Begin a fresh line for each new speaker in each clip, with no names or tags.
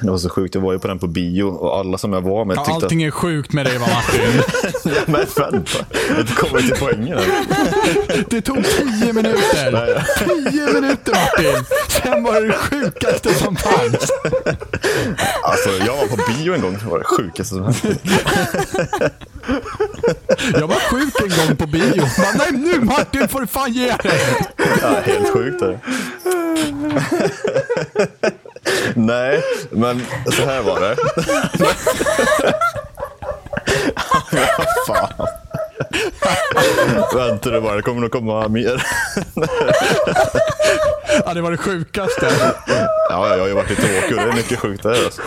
Det var så sjukt. Jag var ju på den på bio och alla som jag var med
Ja,
tyckte
allting är sjukt med dig va Martin?
att... Ja, men vänta. Det kommer till poängen. här.
Det tog tio minuter. Tio minuter Martin. Sen var det det sjukaste som fanns.
Alltså, jag var på bio en gång. Det var det sjukaste som hänt.
Jag var sjuk en gång på bio. Bara, Nej nu Martin får du fan ge dig.
Ja, helt sjukt är det. Nej, men så här var det. Men vad fan. Vänta du bara, det kommer nog komma mer.
Ja, det var det sjukaste.
Ja, jag har ju varit i Tokyo. Det är mycket sjukt där. Alltså.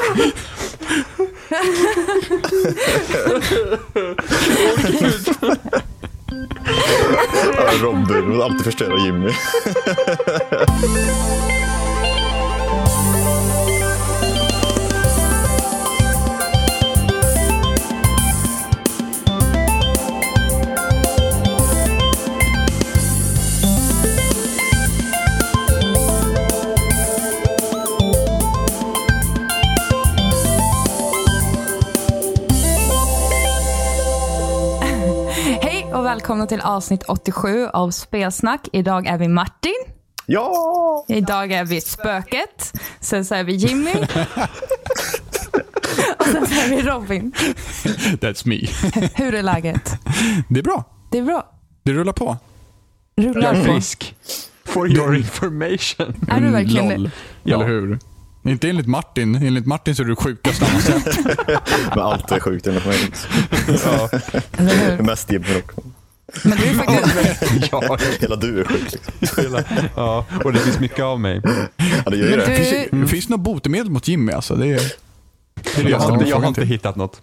Ja, Robin, vill alltid förstöra Jimmy.
Hej och välkomna till avsnitt 87 av Spelsnack. Idag är vi Martin.
Ja!
Idag är vi Spöket. Sen så är vi Jimmy. och sen så är vi Robin.
That's me.
Hur är läget?
Det är bra.
Det är bra.
Det rullar på.
Rullar
Jag är
på.
frisk. For your information.
Är du verkligen
Lol.
det?
Ja.
Eller hur? Inte enligt Martin. Enligt Martin så är du sjukast av oss.
Men allt är sjukt enligt mig.
Eller hur?
Mest Jimmy dock.
Men du är faktiskt...
ja,
Hela du är sjuk. Liksom.
hela- ja, och det finns mycket av mig.
Ja, det gör ju
Men
det.
du,
Mm. Finns det något botemedel mot Jimmy? Alltså? Det är, det är det
Jag
jag ställer
har,
mig
jag har
frågan
inte
till.
hittat något.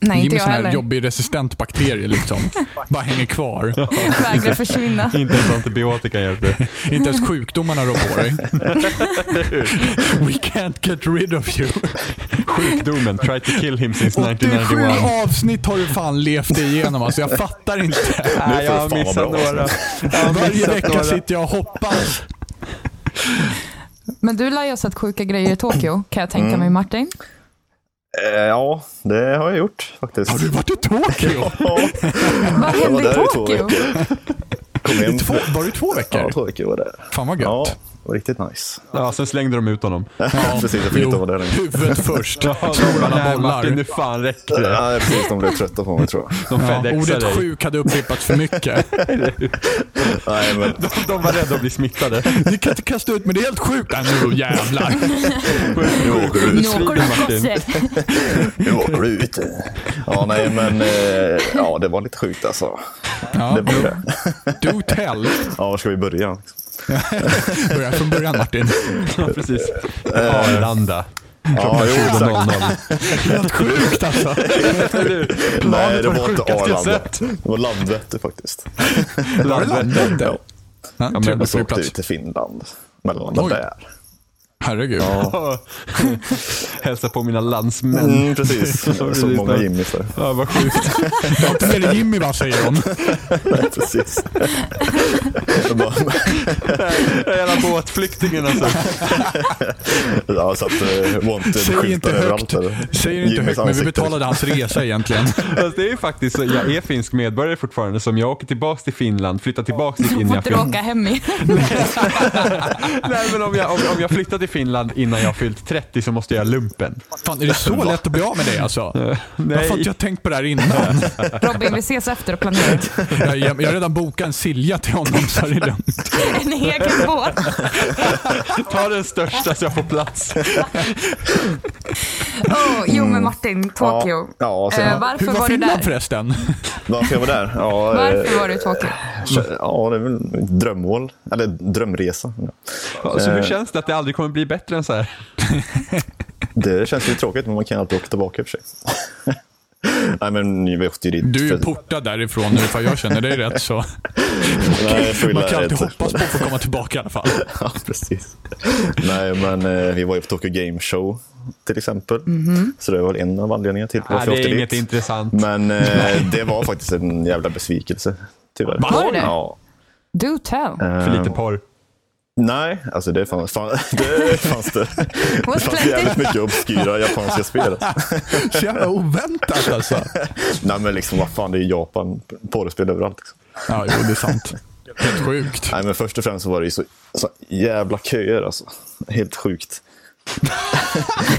nej, inte
Jimmy är
jag
sån här
heller.
jobbig resistent bakterie liksom. Bara hänger kvar.
Vägrar försvinna.
Inte ens antibiotika hjälper.
Inte ens sjukdomarna rår på dig. We can't get rid of you.
Sjukdomen, tried to kill him since
87
1991.
avsnitt har du fan levt dig igenom alltså. Jag fattar inte.
Nej, jag
fan
har
vad
missat
bra, alltså.
några. Jag har
Varje
missat
vecka
några.
sitter jag och hoppas.
Men du lär ju ha sett sjuka grejer i Tokyo, kan jag tänka mig Martin.
Eh, Ja, det har jag gjort faktiskt.
Har du varit i Tokyo?
Ja,
Vad
jag var
hände i
där i två
Tokyo?
veckor. Kom hem.
Två, var du i två
Ja,
veckor?
Tokyo var det.
Fan vad
Ja,
gött.
det var riktigt nice.
Ja, sen slängde de ut honom.
Ja, precis. Jag fick inte
Jo,
vara där längre.
Huvudet först.
Ja,
Slår alla
nej, Martin, nu
bollar.
fan räcker det.
Ja, precis. De blev trötta på mig tror jag.
De
Ja,
fedexar
ordet
dig.
sjuk hade upprepats för mycket.
Nej, men
De var rädda att bli smittade.
Ni kan inte kasta ut mig, det är helt sjukt. Nej, nu jävlar.
nu åker du
Nu
ut.
åker
Svider,
du
Martin.
gosse.
Nu åker du ut. Ja, nej, men eh, ja, det var lite sjukt alltså.
Ja,
Det var det.
do tell.
Ja, var ska vi börja?
Börja från början Martin.
Ja, precis. Arlanda.
Ja, jo, exakt.
00.
Helt sjukt alltså.
Nej, det
var det
var inte
sjukaste jag
Arlanda.
sett.
Det var Landvetter faktiskt.
Var det landet?
Ja,
Ja,
men
trevlig
så åkte vi
flygplats.
till Finland. Mellanlandade
Oj.
där.
Herregud.
Hälsa på mina landsmän.
Mm, precis. Så
Precis,
många
där.
Jimmy för.
Ja, vad sjukt.
Jag har inte med dig Jimmy va, säger de.
Precis. Jag bara-
Jävla båtflyktingen alltså.
Ja, så att uh,
Säger inte
wanted-skyltar överallt.
högt,
eller?
säger inte
Jimmys
högt men vi
ansikte.
betalade hans resa egentligen.
Fast det är ju faktiskt så, jag är finsk medborgare fortfarande, så om jag åker tillbaka till Finland, flyttar tillbaka dit
Du
innan
får
jag
inte
fyllt...
åka hem igen.
Nej men om jag, om, om jag flyttar till Finland innan jag fyllt 30 så måste jag göra lumpen.
Fan, är det så lätt att bli av med dig alltså? Varför har inte
Nej,
jag tänkt på det här innan?
Robin, vi ses efter och planerar.
Jag, jag, jag har redan bokat en Silja till honom så det är lugnt.
En egen båt.
ta den största så jag får plats.
Oh, jo, men Martin, Tokyo.
Mm. Ja, ja, så-
eh,
Hur
varför
var,
var, du
Finland
där?
förresten?
Varför jag var där? Ja, eh,
Varför var du i Tokyo?
ja, det är väl mitt drömmål. Eller drömresa. Eh,
Så hur känns det att det aldrig kommer bli bättre än så här?
Det känns ju tråkigt, men man kan alltid åka tillbaka i och för sig. Nej, men vi åkte ju dit.
Du är ju
för-
portad därifrån nu ifall jag känner dig rätt så.
Nej, för
Man kan alltid
illa-
hoppas på att få komma tillbaka i alla fall.
Ja, precis. Nej, men eh, vi var ju på Tokyo Game Show till exempel. Så det var väl en av anledningarna till
Nej,
varför jag
det
åkte
är inget
dit.
intressant.
Men eh, det var faktiskt en jävla besvikelse, tyvärr.
Var
det det?
Ja.
Eh.
Do tell.
För lite porr.
Nej, alltså det, fann, fan, det fanns det. Det fanns jävligt mycket obskyra japanska spel.
Så jävla oväntat alltså.
Nej, men liksom vad fan, det är Japan. Porrspel överallt. Liksom.
Ja, jo, det är sant. Helt sjukt.
Nej, men först och främst så var det ju så, så jävla köer alltså. Helt sjukt.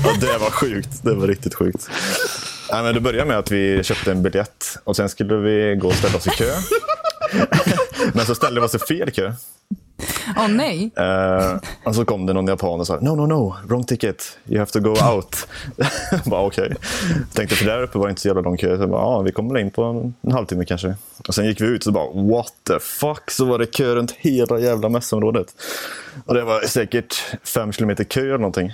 ja, det var sjukt. Det var riktigt sjukt. Nej, men det började med att vi köpte en biljett och sen skulle vi gå och ställa oss i kö. men så ställde vi oss i fel kö.
Åh nej.
Eh, och så kom det någon japan och sa no, no, no, wrong ticket, you have to go out. Jag bara okej. Tänkte för där uppe var det inte så jävla lång kö. Så jag bara, ja, vi kommer väl in på en, en halvtimme kanske. Och sen gick vi ut och bara what the fuck. Så var det kö runt hela jävla mässområdet. Och det var säkert fem kilometer kö eller någonting.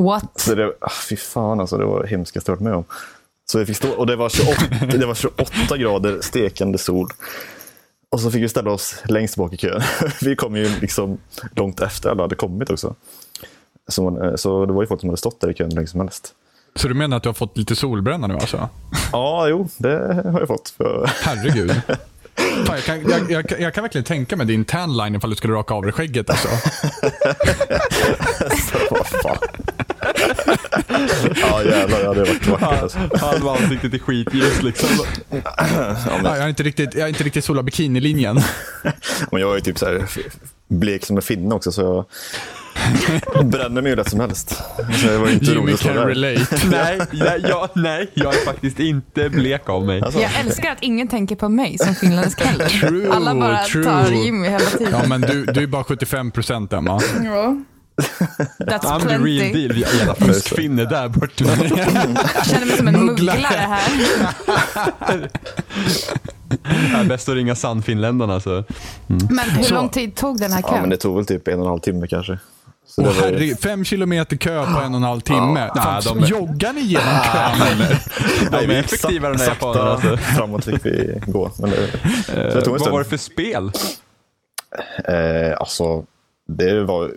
What?
Så det, ah, fy fan alltså, det var det hemskaste jag varit med om. Så vi fick stå, och det var, 28, det var 28 grader stekande sol. Och så fick vi ställa oss längst bak i kön. Vi kom ju liksom långt efter alla hade kommit också. Så, man, eh, så det var ju folk som hade stått där i kön hur länge som helst.
Så du menar att du har fått lite solbränna nu alltså?
Ja, jo, det har jag fått. För,
Herregud. Fan, jag, kan, jag, jag, kan- jag kan verkligen tänka mig din tanline ifall du skulle raka av dig skägget. Alltså.
så, vad fan. ja, jävlar, det hade varit vackert. Alltså.
Halva ansiktet i skitljus liksom.
Ja, jag, är inte riktigt, jag är inte riktigt sola bikinilinjen.
Men jag är ju typ så här f- blek som en finne också, så jag bränner mig ju lätt som helst. Så det var ju inte
Jimmy
roligt
can
att vara där.
relate.
Nej, nej, jag, nej, jag är faktiskt inte blek av mig.
Alltså,
Jag älskar att ingen tänker på mig som finländsk heller.
True,
Alla bara
true.
tar Jimmy hela tiden.
Ja, men du, du är bara 75 procent Emma.
That's
Alltså,
I'm the real
plenty.
deal. Vi är Jävla fuskfinne där borta.
Jag känner mig som en
Mugglare.
mugglare här.
Det är bäst att ringa Sannfinländarna. Alltså.
Men hur
Så.
lång tid tog den här
Ja, men
kön?
det tog väl typ en och en halv timme kanske. Så
Och
det var ju-
herregud, fem kilometer kö på en och en halv timme. Fan,
de är-
Joggar ni genom kön
Eh,
eller?
De
Nej,
är
vi gick
effektivare än de
sak-
här japanerna.
sakta
Alltså.
Framåt fick vi gå. Men det, så det tog en
Vad var det
stund.
för spel?
Eh, alltså, det var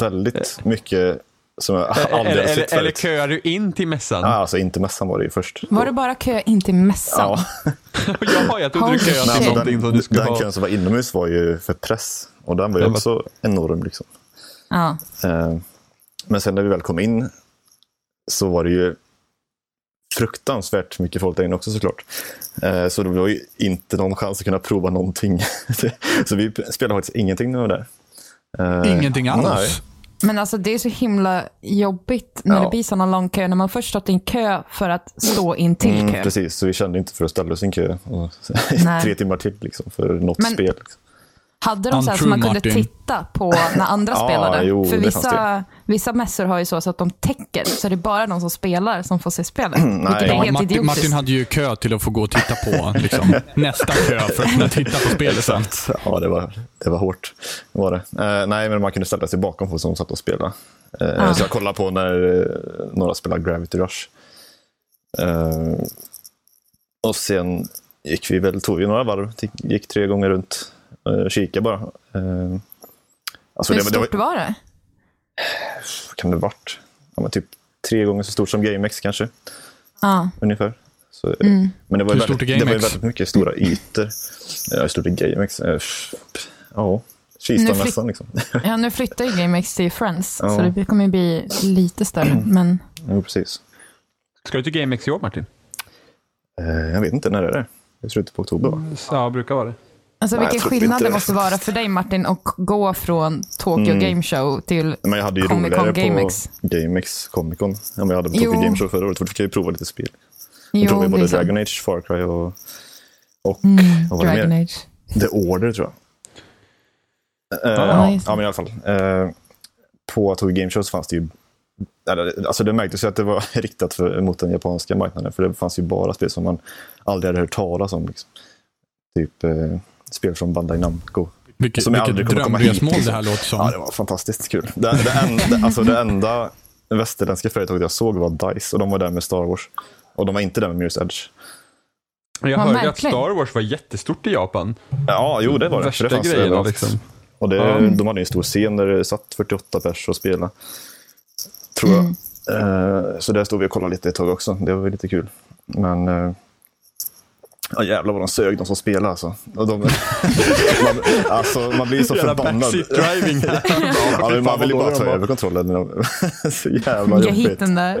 väldigt mycket som jag aldrig
Eh.
har
Eller,
sett
eller, eller
förut.
köar du in till mässan?
Ah, alltså inte mässan var det ju först.
Var det bara kö in till mässan?
Ja.
Jaha, jag trodde
Holy
du köade
Nej,
till
men
shit.
någonting
den
som du skulle
den
ha.
kön som var inomhus var ju för press. Och den var ju
Den var-
också enorm. Liksom.
Ja.
Eh, men sen när vi väl kom in så var det ju fruktansvärt mycket folk där inne också såklart. Eh, så det var ju inte någon chans att kunna prova någonting. så vi spelade faktiskt ingenting när vi var där. Eh,
Ingenting alls.
nej.
Men alltså det är så himla jobbigt när
Ja.
det blir sådana lång kö. När man först stått i en kö för att stå in till
Mm,
kö.
precis, så vi kände inte för att ställa oss i en kö och,
Nej.
tre timmar till liksom, för något
Men-
spel. Liksom.
Hade de så här så
Untrue,
man kunde
Martin.
titta på när andra
Ja,
spelade?
jo,
för
det fanns
vissa, vissa mässor har ju så, så att de täcker, så det är bara de som spelar som får se spelet. vilket är
Ja,
helt
Martin,
idiotiskt.
Martin hade ju kö till att få gå och titta på liksom, nästa kö för att kunna titta på spelet sen.
Ja, det var, det var hårt. Det var det. Eh, nej, men man kunde ställa sig bakom folk som satt och spelade. Eh,
Ah.
Så jag kollade på när eh, några spelade Gravity Rush. Eh, och sen gick vi väl, tog vi några varv, t- gick tre gånger runt. Eh, kika bara. Eh, alltså
Hur
det, var- det var,
stort var det?
kan det varit? Ja, men typ tre gånger så stort som GameX kanske.
Ja.
ungefär. Så, eh,
Mm.
Men det var, ju
Hur stort är
väldigt, det var ju
GameX?
väldigt mycket stora ytor. Ja, hur stort är GameX? Eh, pff, Ja, Kistamässan liksom.
ja, nu flyttar ju GameX till Friends, så
Ja. Mm.
det kommer ju bli lite större. Men
jo, precis.
Ska du till GameX i år Martin?
Eh, jag vet inte, när är det? Det är slutet på oktober va?
Ja, brukar vara det.
alltså,
Nej, jag
vilken
tror inte
skillnad det
det.
måste vara för dig Martin att gå från Tokyo Game Show till
Men jag hade ju
Comic Con
roligare på
GameX.
GameX Comic Con. Ja, men jag hade på
Jo.
Tokyo Game Show förra året, för då fick jag ju prova lite spel.
Jo,
Jag provade
det
både
är sant.
Dragon Age, Far Cry och, och vad var det
Mm. Dragon
mer?
Age.
The Order tror jag. Eh,
Ja,
ja,
just det.
ja, men i alla fall. Eh, på Tokyo Game Show så fanns det ju... eller, Alltså det märktes ju att det var riktat för, mot den japanska marknaden. För det fanns ju bara spel som man aldrig hade hört talas om. Liksom. Typ eh, spel från Bandai Namco.
Vilket,
Som jag aldrig
vilket
kommer komma
drömresmål
hit.
det här låter som.
Ja, det var fantastiskt kul. Det, det, en, det, alltså det enda västerländska företaget jag såg var DICE. Och de var där med Star Wars. Och de var inte där med Mirror's Edge.
Men jag
Ja,
hörde att
verkligen.
Star Wars var jättestort i Japan.
Ja, jo det var det.
Värsta
det fanns
grejerna,
överallt.
liksom.
Och det, De hade ju en stor scen där det satt 48 pers och spelade. Tror
Mm.
jag. Eh, så där stod vi och kollade lite ett tag också. Det var ju lite kul. Men eh, Ja, jävlar vad de sög de som spelade alltså. Och de, man, alltså man blir så
Jävla
förbannad.
backseat driving.
Ja, men man vill ju bara ta över kontrollen. när de- så jävla
Jag hit
jobbigt.
den där.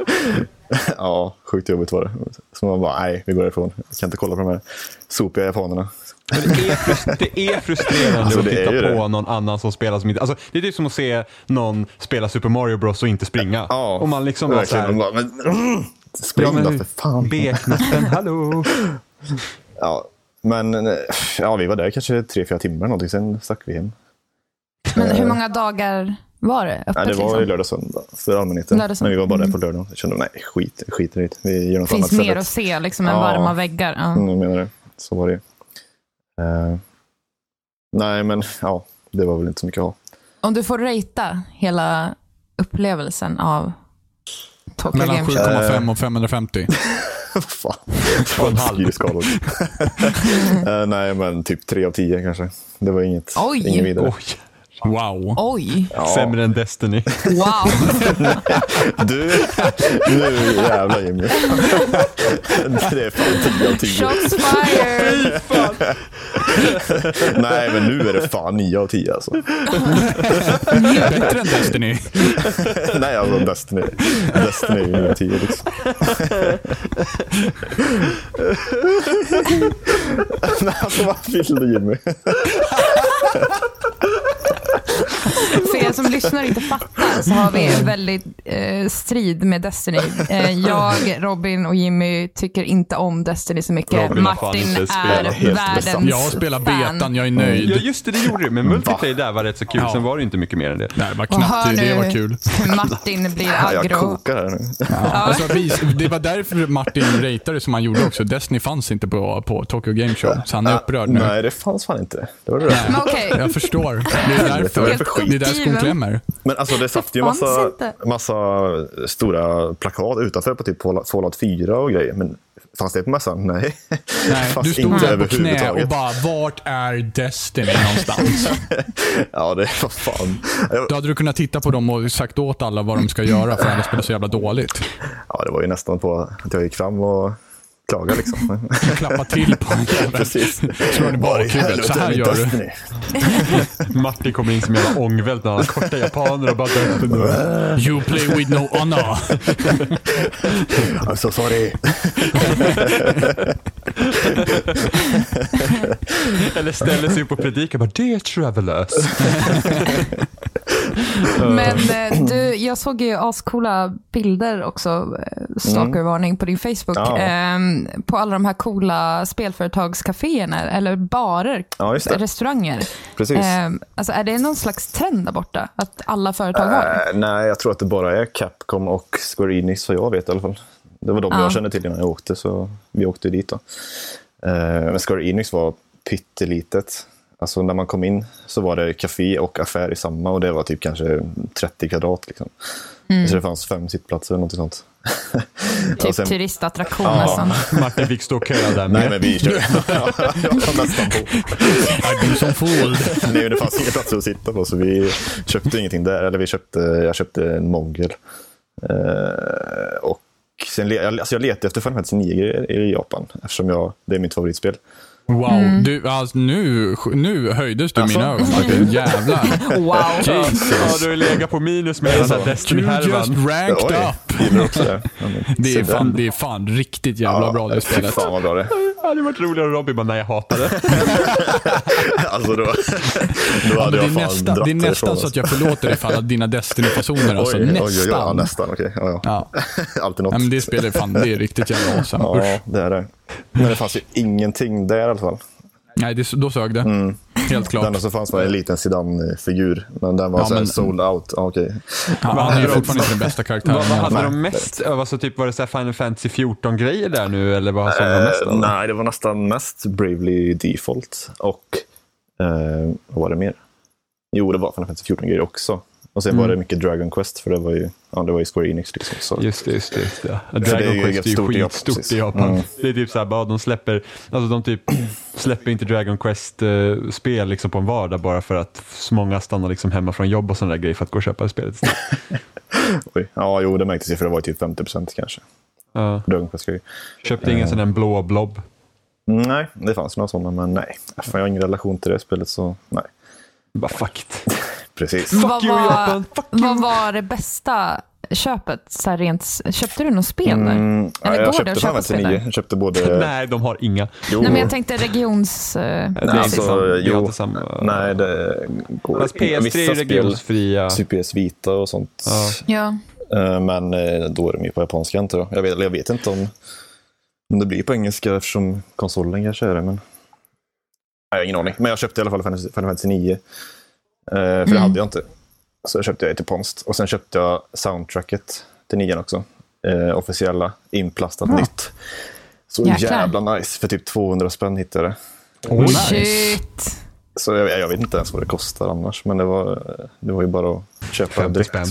Ja, sjukt jobbigt var det. Så man bara, nej, vi går ifrån. Jag kan inte kolla på de här sopiga japanerna.
Men det, är frus- det är frustrerande
Alltså,
att
det är
titta
ju det.
på någon annan som spelar som inte... Alltså, det är typ som att se någon spela Super Mario Bros och inte springa.
Ja,
och man liksom bara
verkligen.
såhär...
Man bara, men, mm, spring då, för fan.
B-knappen, hallå!
Ja, men eh, ja, vi var där kanske tre, fyra timmar någonting, sen stack vi hem.
Men hur många dagar var det öppet?
Eh. Nej, det var ju
liksom?
lördag, söndag för allmänheten.
Lördag, söndag.
Men vi var bara där på lördagen. Jag kände, nej, skit, skit i det. Vi gör något
Det
annat
finns mer
istället.
att se liksom, än
Ja.
varma väggar. Ja.
Mm, jag menar det. Så var det ju. Eh, nej, men ja, det var väl inte så mycket att ha.
Om du får rata hela upplevelsen av Tokyo
Mellan
Game Show.
7,5 och 550.
Fan,
och en halv.
Fyra skalor. Eh, nej, men typ tre av tio kanske. Det var inget,
Oj.
inget vidare.
Oj,
Wow.
Oj,
sämre än Destiny.
wow.
Du, nu jävlar Jimmy. Det är fan tio av tio.
Shots fired.
Nej, men nu är det fan 9 av 10 alltså.
Bättre än Destiny.
Nej, alltså Destiny. Destiny är ju 9 av 10 liksom. Men alltså vad vill du Jimmy?
För er som lyssnar och inte fattar så har
Mm.
vi en väldigt eh, strid med Destiny. Eh, jag, Robin och Jimmy tycker inte om Destiny så mycket.
Robin har fan
Martin
inte
är
spelat helt
besatt.
världens
Jag spelar
fan.
betan, jag är
Ja
nöjd.
just det, det gjorde du. Men multiplayer där var rätt så kul,
Ja.
sen var det inte mycket mer än det.
Nej, det var
Och hör
knappt det. Det var kul.
nu Martin blir
Ja, jag
aggro.
kokar här nu.
Alltså, vi, det var därför Martin ratade som han gjorde också. Destiny fanns inte på, på Tokyo Game Show, så han är upprörd nu.
Nej, det fanns fan inte. Det var det där.
Men okej,
Jag förstår. Det är därför,
vad är det för skit?
det är där skon klämmer.
Men alltså det satt ju
Det fanns
massa,
inte.
massa stora plakat utanför på typ Fallout- Fallout 4 och grejer. Men fanns det på mässan? Nej.
Nej,
fanns
du stod
inte
där på knä
överhuvudtaget.
och bara, vart är Destiny någonstans?
Ja, det var fan.
Då hade du kunnat titta på dem och sagt åt alla vad de ska göra för annars blir det så jävla dåligt.
Ja, det var ju nästan på att jag gick fram och klagade liksom.
Klappa till på en jävel.
Precis.
Slår den i bakhuvudet. Så här gör du.
Martin kom in som en jävla ångvält när han har korta japaner och bara döpte nu.
You play with no honor.
I'm so sorry.
Eller ställer sig upp och predikar bara det är travelers.
men eh, du, jag såg ju ascoola bilder också, eh, stalkervarning på din Facebook,
Mm. Ja.
ehm, på alla de här coola spelföretagskaféerna eller barer,
Ja, just det.
restauranger.
Precis.
Ehm, alltså, är det någon slags trend där borta, att alla företag har det?
Eh, nej, jag tror att det bara är Capcom och Square Enix, vad jag vet i alla fall. Det var de
Ja.
jag kände till innan jag åkte, så vi åkte dit. Då. Eh, men Square Enix var pyttelitet. Alltså när man kom in så var det café och affär i samma och det var typ kanske 30 kvadrat. Liksom. Så det fanns fem sittplatser eller någonting sånt.
Mm. Typ
Och sen-
turistattraktion
alltså- Ja.
nästan.
Martin fick stå och köa
Nej,
där med.
men vi körde. Ja, jag var nästan på.
I've been so fooled.
Nej, men det fanns inga platser att sitta på, så vi köpte ingenting där. Eller vi köpte, jag köpte en mogel. Eh, och sen, le- jag- alltså jag letade efter Final Fantasy 9 i Japan, eftersom jag, det är mitt favoritspel.
Wow, du, alltså, nu, nu höjdes du
Alltså.
mina ögon. Martin. Jävlar.
Wow.
Ja, du har legat på minus med hela den här
Alltså,
You just
Destiny-härvan.
ranked up.
gillar också det. Ja, men,
Det är,
så
fan,
där.
det är fan riktigt jävla bra det
fy
spelet.
fan vad bra det är.
Det hade varit roligare om Robin bara, nej jag hatar det.
Alltså då, då
Ja, men
hade
det
jag
är
fan
nästan,
dratt
det är
därifrån,
nästan så
alltså.
att jag förlåter dig för alla dina Destiny-fasoner. Alltså,
Oj, oj, oj, oj, ja,
nästan.
nästan. Okej, ja, ja.
Ja.
Alltid något.
Nej, men det spelar ju fan, det är riktigt jävla awesome. Usch.
ja, det är det. Men det fanns ju ingenting där i alla fall.
Nej, det, då sög det.
Mm.
Helt
Det
klart.
enda som fanns var en liten Zidane-figur, men den var
Ja,
så här
men-
sold out. Ja, Okej.
Ja,
Vad
han är ju
hade de-
fortfarande inte den bästa karaktären.
Vad, vad
i alla
hade
fall.
de mest av? Alltså, typ, var det så här Final Fantasy 14-grejer där nu? Eller vad såg de mest
Eh,
av?
nej, det var nästan mest Bravely Default och eh, vad var det mer? Jo, det var Final Fantasy 14 grejer också. Och sen
Mm.
var det mycket Dragon Quest, för det var ju, ja, det var ju Square Enix. Liksom, så.
Just det, just det. Just det.
det är ju
Dragon Quest är ju
stort i Japan,
skitstort
precis.
i Japan.
Mm.
Det är typ så här, bara de släpper, alltså de typ släpper inte Dragon Quest-spel liksom på en vardag bara för att så många stannar liksom hemma från jobb och sådana där grejer för att gå och köpa spelet istället.
Oj. Ja, jo, det märktes ju, för det var ju typ 50 procent kanske.
Ja.
Dragon Quest grejer. Mm,
Köpte ingen sån där blå blob.
Nej, det fanns några sådana, men nej. Äh, Fan, jag har ingen relation till det spelet, så nej.
Bara fuck it.
Precis.
vad,
you,
var,
Japan. Fuck
vad var det bästa köpet? Så här rent, köpte du något spel där?
Mm, ja,
Eller
jag
går det
köpte fan
att köpa
inte
spel där?
nio. Jag köpte både...
Nej, de har inga.
Jo.
Nej, men jag tänkte regions... eh,
Det är inte
alltså,
samma- det är
jo.
inte samma-
Nej, det går
Fast PS3 är ju regionsfria.
Typ PS Vita och sånt.
Ja.
Ja.
Eh, Men eh, då är de ju på japanska antar jag. Jag vet, eller jag vet inte om, om det blir på engelska eftersom konsolen kanske är det. Men... Nej, jag har ingen aning. Men jag köpte i alla fall Final Fantasy- Final Fantasy 9. Eh, För
Mm.
det hade jag inte. Så köpte jag det till Ponst. Och sen köpte jag soundtracket till 9 också. Eh, officiella, inplastat
Ah.
nytt. Så
Jäklar.
jävla nice. För typ 200 spänn hittade jag det.
Shit.
Så jag, jag vet inte ens vad det kostar annars. Men det var, det var ju bara att köpa
50
direkt.
spänn.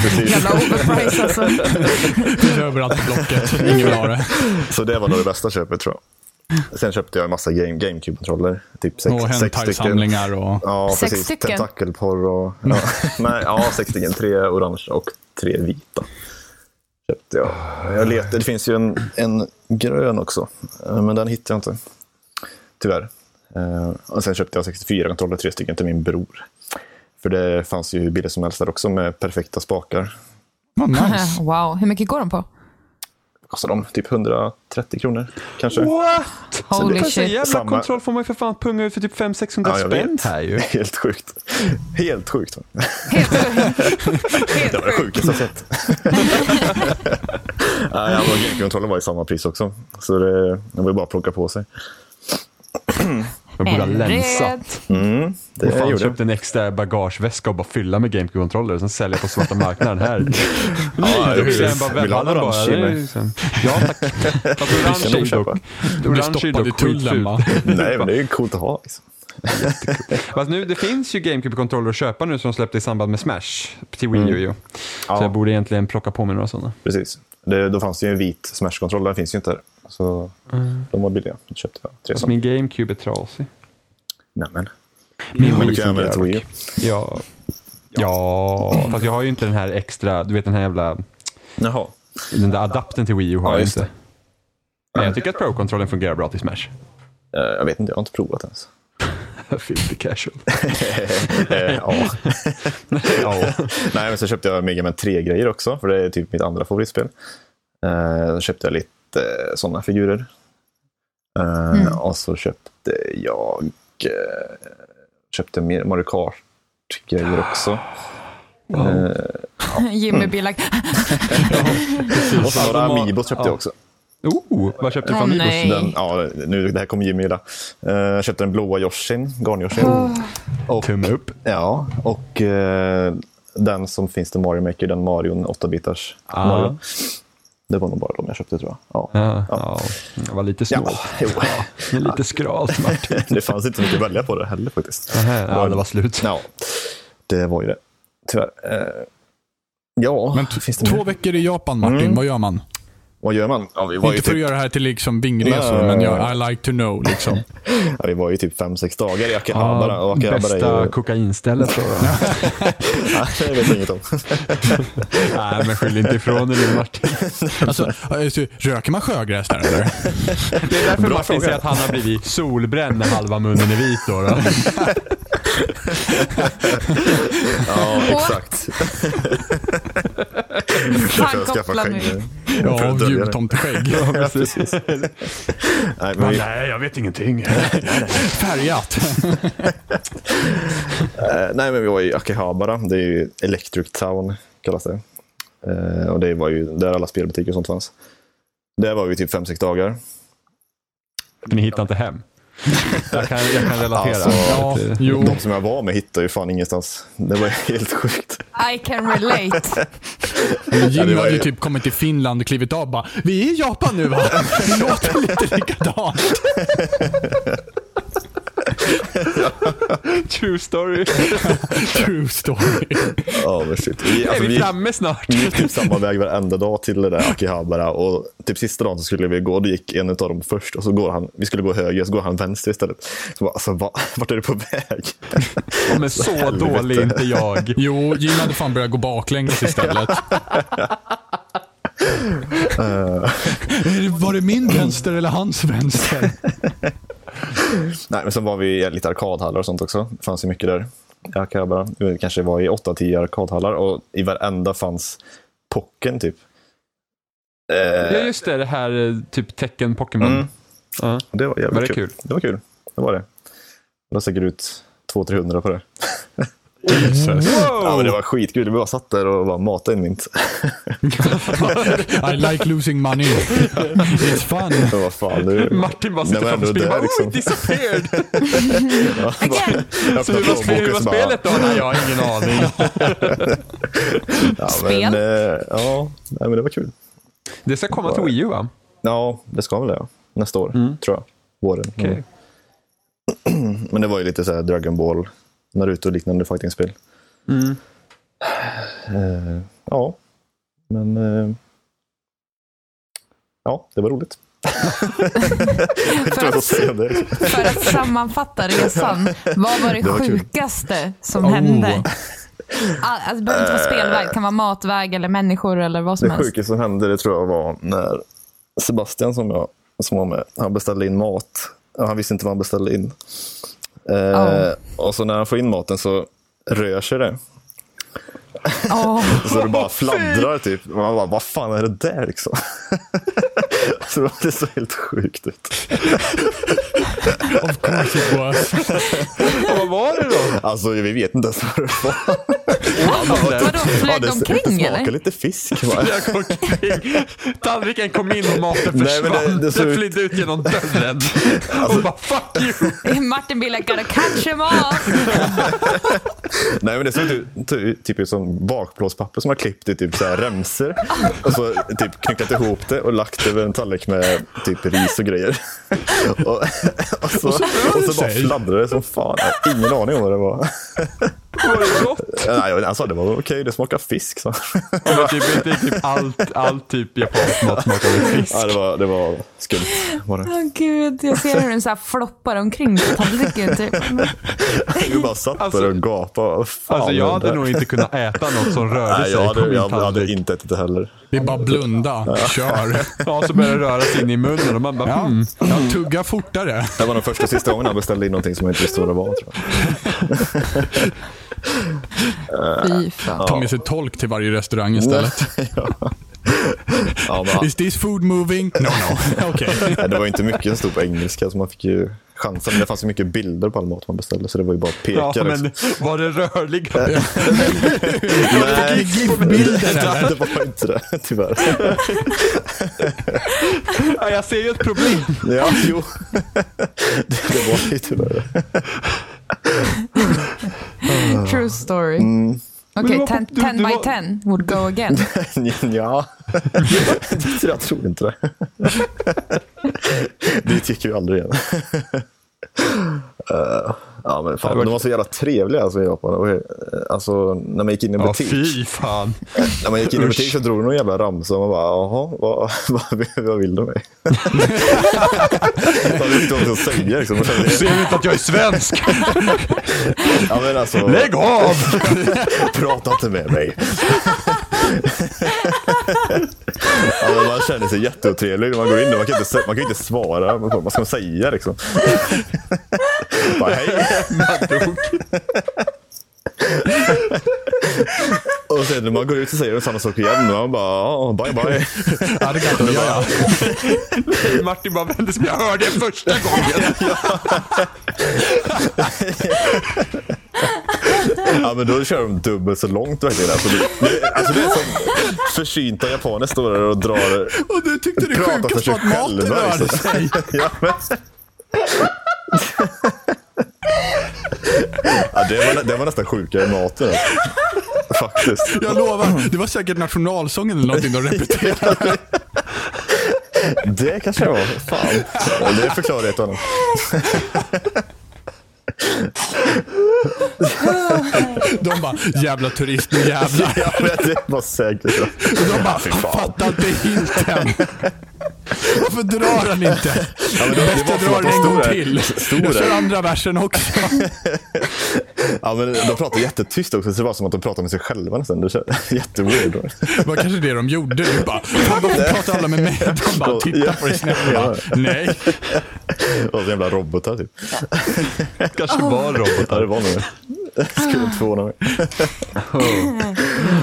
Precis.
Jävla overprice alltså.
Finns överallt på Blocket. Ingen vill ha det.
Så det var nog det bästa köpet tror jag. Sen köpte jag en massa game, GameCube-kontroller. Typ sex,
Och
sex stycken.
hentai-samlingar och...
Ja,
Sex
precis.
stycken?
Tentakelporr och... Ja. Nej, ja, sex stycken. Tre orange och tre vita. Köpte jag. jag letade. Det finns ju en, en grön också, eh, men den hittade jag inte. Tyvärr. Eh, Och sen köpte jag 64-kontroller, tre stycken, till min bror. För det fanns ju hur billigt som helst där också med perfekta spakar.
Vad nice.
Wow, hur mycket går de på?
Kostade de typ 130 kronor kanske.
What?
Holy
Fast en
shit.
jävla
Samma-
kontroll får man ju för fan punga ut för typ 500-600
jag
spänn
vet.
här ju.
Helt sjukt. Helt sjukt.
Helt Helt
Det var det
sjukt.
sjukaste jag sett. Nej, ja, men Gamekontrollen var i samma pris också. Så det, det var ju bara att plocka på sig.
Jag borde ha länsat.
Red.
Det
Jag fan
gjorde jag.
köpte en extra bagageväska och bara fylla med GameCube-kontroller och sen sälja på svarta marknaden här. Ja,
precis.
jag bara,
Vill
vill
du ha
han
en
bara,
orange
det är
eller?
liksom, Ja tack. Fast
kan nog
orange är
köpa.
dock.
Du
Orange är
stoppade i
dock
tullen
skitfult.
va?
Nej, men det är ju coolt att ha. Liksom.
Fast nu, det finns ju GameCube-kontroller att köpa nu som de släppte i samband med Smash till Wii U. ju.
Mm. Ja.
Så jag borde egentligen plocka på mig några sådana.
Precis. Det, då fanns det ju en vit Smash-kontroll. Den finns ju inte här. Så de var billiga. Då köpte jag tre
Fast
sådana.
min GameCube är trasig.
Nämen.
Min
Men
Wii
du kan använda till
fungerar
Wii U.
dock. Ja. Ja, fast jag har ju inte den här extra, du vet den här jävla,
Jaha.
den där adaptern till Wii U har
Ja,
jag
just
inte. Men jag tycker att Pro-kontrollen fungerar bra till Smash.
Eh, Jag vet inte, jag har inte provat ens.
Filthy casual.
Eh, ja.
ja.
Nej, men så köpte jag Mega Man 3-grejer också, för det är typ mitt andra favoritspel. Eh, så köpte jag lite sådana figurer. Eh, Och så köpte jag eh, köpte mer Mario Kart-grejer också.
Jimmy blir like,
Och så några
Alltså, ma-
Amiibos köpte
ja.
jag också.
Oh, vad köpte du
Åh,
för Amiibos?
nej.
Den, ja, nu, det här kommer Jimmy gilla. Eh, jag köpte den blåa Yoshin, Garn-Yoshin.
Tumme upp.
Ja, och eh, den som finns till Mario Maker, den Marion 8-bitars.
Ah.
Mario. Det var nog bara de jag köpte tror jag. Ja.
Ja, ja. Jag var lite snål.
Ja, jo.
Men Lite skral, Martin.
Det fanns inte så mycket att välja på det heller faktiskt.
Ja, det var slut.
Ja, det var ju det. Tyvärr. Eh, ja,
Men
Ah, finns
t-
det
två
mer?
veckor i Japan Martin, vad gör man?
vad gör man? Ja, vi, var Mm. ju
Inte för att
typ,
göra det här till liksom vingresor,
Nej.
men jag, I like to know liksom.
ja, vi var ju typ fem, sex dagar i Akihabara.
Ja,
och Akihabara är
bästa
ju...
kokainstället då.
Nej, det vet jag inget om.
Nej, men skyll inte ifrån dig nu Martin.
Alltså, alltså, röker man sjögräs där eller?
Det är därför
Bra
Martin
fråga.
säger att han har blivit solbränd när halva munnen är vit. Då, då.
Ja,
What?
exakt. Kanske jag skaffar
kopplar nu.
skägg.
Ja,
att dölja
av
det.
jultomteskägg.
precis. Nej, men vi, eh,
Nej, jag vet ingenting.
Färgat.
eh, nej, men vi var i Akihabara. Det är ju Electric Town, kallas det. Eh, och det var ju där alla spelbutiker och sånt fanns. Där var vi typ fem, sex dagar.
Ni hittar inte hem. Jag kan, jag kan relatera.
Alltså,
Ja, jo.
Mm.
De som jag var med hittade ju fan ingenstans. Det var ju helt sjukt.
I can relate.
Ja, det
Jim
var
hade ju
ju-
typ kommit till Finland och klivit av bara, vi är i Japan nu va? Det låter lite likadant.
True story.
True story.
Ja, men shit. Vi,
är
alltså,
vi
vi,
framme snart?
vi gick typ samma väg varenda dag till det där Akihabara. Och typ sista dagen så skulle vi gå, då gick en av dem först. Och så går han, vi skulle gå höger, så går han vänster istället. Så bara, alltså, va, vart är du på väg?
Men så
Helvete.
dålig är inte jag.
Jo, Jim hade fan börjat gå
Eh.
baklänges istället. Eh, Vad var det min vänster eller hans vänster?
Nej, men sen var vi i lite arkadhallar och sånt också. Det fanns ju mycket där. Jag kan bara, vi kanske var i 8-10 arkadhallar och i varenda fanns pocken typ.
Ja, just det. Det här eh, typ tecken Pokémon.
Mm.
Ja.
Och Det var jävligt
Var det
kul.
kul?
Det var kul. Det var det. Det var säkert ut 200-300 på det. Så,
Mm.
ja, men det var skitkul. Vi bara satt där och bara matade in mynt.
I like losing money. It's fun.
Men vad fan, du...
Martin bara sitter
Nej, men ändå, det
framför spelet och bara
är liksom-
oh, it disappeared!
Again.
Jag
Så
öppnade
hur var, spe- hur
plånboken
var
så bara,
spelet då? Nej, jag har ingen aning.
Ja,
Spel?
men, eh, ja, nej, men det var kul.
Det ska komma till Wii U
Mm.
va?
Ja, det ska väl det. ja. Nästa år, tror jag. Våren. Mm. Men det var ju lite så här Dragon Ball, Naruto och liknande fightingspel.
Mm.
Eh, ja, men... eh, ja, det var roligt. Jag tror
För
jag får
att,
säga det.
för att sammanfatta resan, vad var det,
Det var kul.
sjukaste som
Oh.
hände? All- Alltså, det behöver inte vara spelväg, det kan vara matväg eller människor eller vad som
Det
helst.
sjukaste som hände det tror jag var när Sebastian som, jag, som var med, han beställde in mat. Ja, Han visste inte vad han beställde in. Eh,
Ja.
Och så när han får in maten så rör sig det.
Åh,
Så det bara fladdrar typ. Och Man bara, vad fan är det där liksom? så det såg helt sjukt ut.
Of course it was.
Och vad var det då?
Alltså vi vet inte ens vad det var.
Vadå, flög
det
omkring
smakade
eller?
lite fisk. Va?
Jag kom omkring. Tallriken kom in och maten
men det-
försvann. det,
det såg ut- Alltså-
flydde ut genom dörren. Och bara fuck you!
Martin Bille, gotta catch him off!
Nej men det såg ut ty- typ ut som bakblåspapper som har klippt i typ så här remsor. Och så typ knycklat ihop det och lagt över en tallrik med typ ris och grejer. Och, och, så, och så bara
sig.
fladdrade det som fan. Jag har ingen aning om vad det var.
Var det gott?
Nej, jag- han sa det var okej, det smakar fisk. Så.
Det var typ, det är typ allt, allt typ japansk mat smakade fisk.
Ja, det, var, det var skumt. Var det.
Åh gud, jag ser hur den så här floppar omkring på tallriken. Typ.
Vi bara satt
Alltså-
där och gapade. Vad fan
Alltså
är
jag
det
hade
där?
nog inte kunnat äta något som rörde
Nej,
sig
jag
på
hade,
min
jag hade
tallrik.
inte ätit det heller.
Det är bara blunda. Kör.
Ja, så började det röra sig in i munnen och man bara
Ja,
hmm.
jag tuggar fortare.
Det var den första och sista gången han beställde in någonting som jag inte visste vad det var. Tror jag.
Fy fan.
Ta med sig tolk till varje restaurang istället.
Ja, men, han-
Is this food moving? No, no. Okej.
Nej, det var ju inte mycket som stod på engelska, så man fick ju chansen. Men Det fanns ju mycket bilder på all mat man beställde, så det var ju bara att peka.
Ja, men
liksom.
var det rörliga?
Nej,
GIF-bilder,
det, det var inte det, tyvärr.
Ja, jag ser ju ett problem.
Ja, jo. Det, det var ju tyvärr det.
True story.
Men det
Okej,
var på-
ten,
du-
ten
du
by
var-
ten would go again.
Ja, Så jag tror inte det. Det gick ju aldrig igen. Eh, ja, men fan, de var så jävla trevliga alltså, i Japan. Och, eh, Alltså, när man gick in i en
Ja,
butik.
fy fan.
När man gick in i butik så drog de någon jävla ramsa och man bara, jaha, vad, vad, vad vill de mig? Man visste inte vad man skulle säga. Liksom. Man kände,
Ser du inte att jag är svensk?
Ja, men alltså,
Lägg av!
prata inte med mig. ja, men man känner sig jätteotrevlig när man går in där. Man kan inte, sä- man kan inte svara. Man bara, Vad ska man säga liksom? bara, hej. Och sen när man går ut så säger de samma sak igen. Och man bara, ja, bye bye.
Arigato, ja, ja.
Martin bara vände sig om. Jag hörde det första gången.
Ja, men då kör de dubbelt så långt verkligen. Alltså, det, det, alltså, det är som försynta japaner står där och drar.
Och du tyckte det
Prata för
sjukaste
sig
var att maten
själva,
rörde
liksom.
sig.
Ja, men... ja, det, var, det var nästan sjukare än maten. alltså. Faktiskt.
Jag lovar, det var säkert nationalsången eller någonting de repeterade.
Det kanske det var. Fan. Ja, Det förklarar ett och annat.
De bara, jävla turist, nu jävlar.
Ja, men det var säkert.
De bara,
Fy fan.
fattar inte hinten. Varför drar han inte?
Ja, men det,
Bäst
det var som att
jag drar
de
en
stod
gång
där-
till.
stod
Jag kör
där.
andra versen också.
Ja, men de pratar jättetyst också, så det var som att de pratade med sig själva nästan. Det känns jätteweird.
Det var kanske det de gjorde. Du bara, fan de pratar alla med mig. De bara tittar på dig snett och bara, nej.
Och så jävla robotar typ.
Kanske var
Ja, det
robotar.
var nog det. Skulle inte förvåna mig.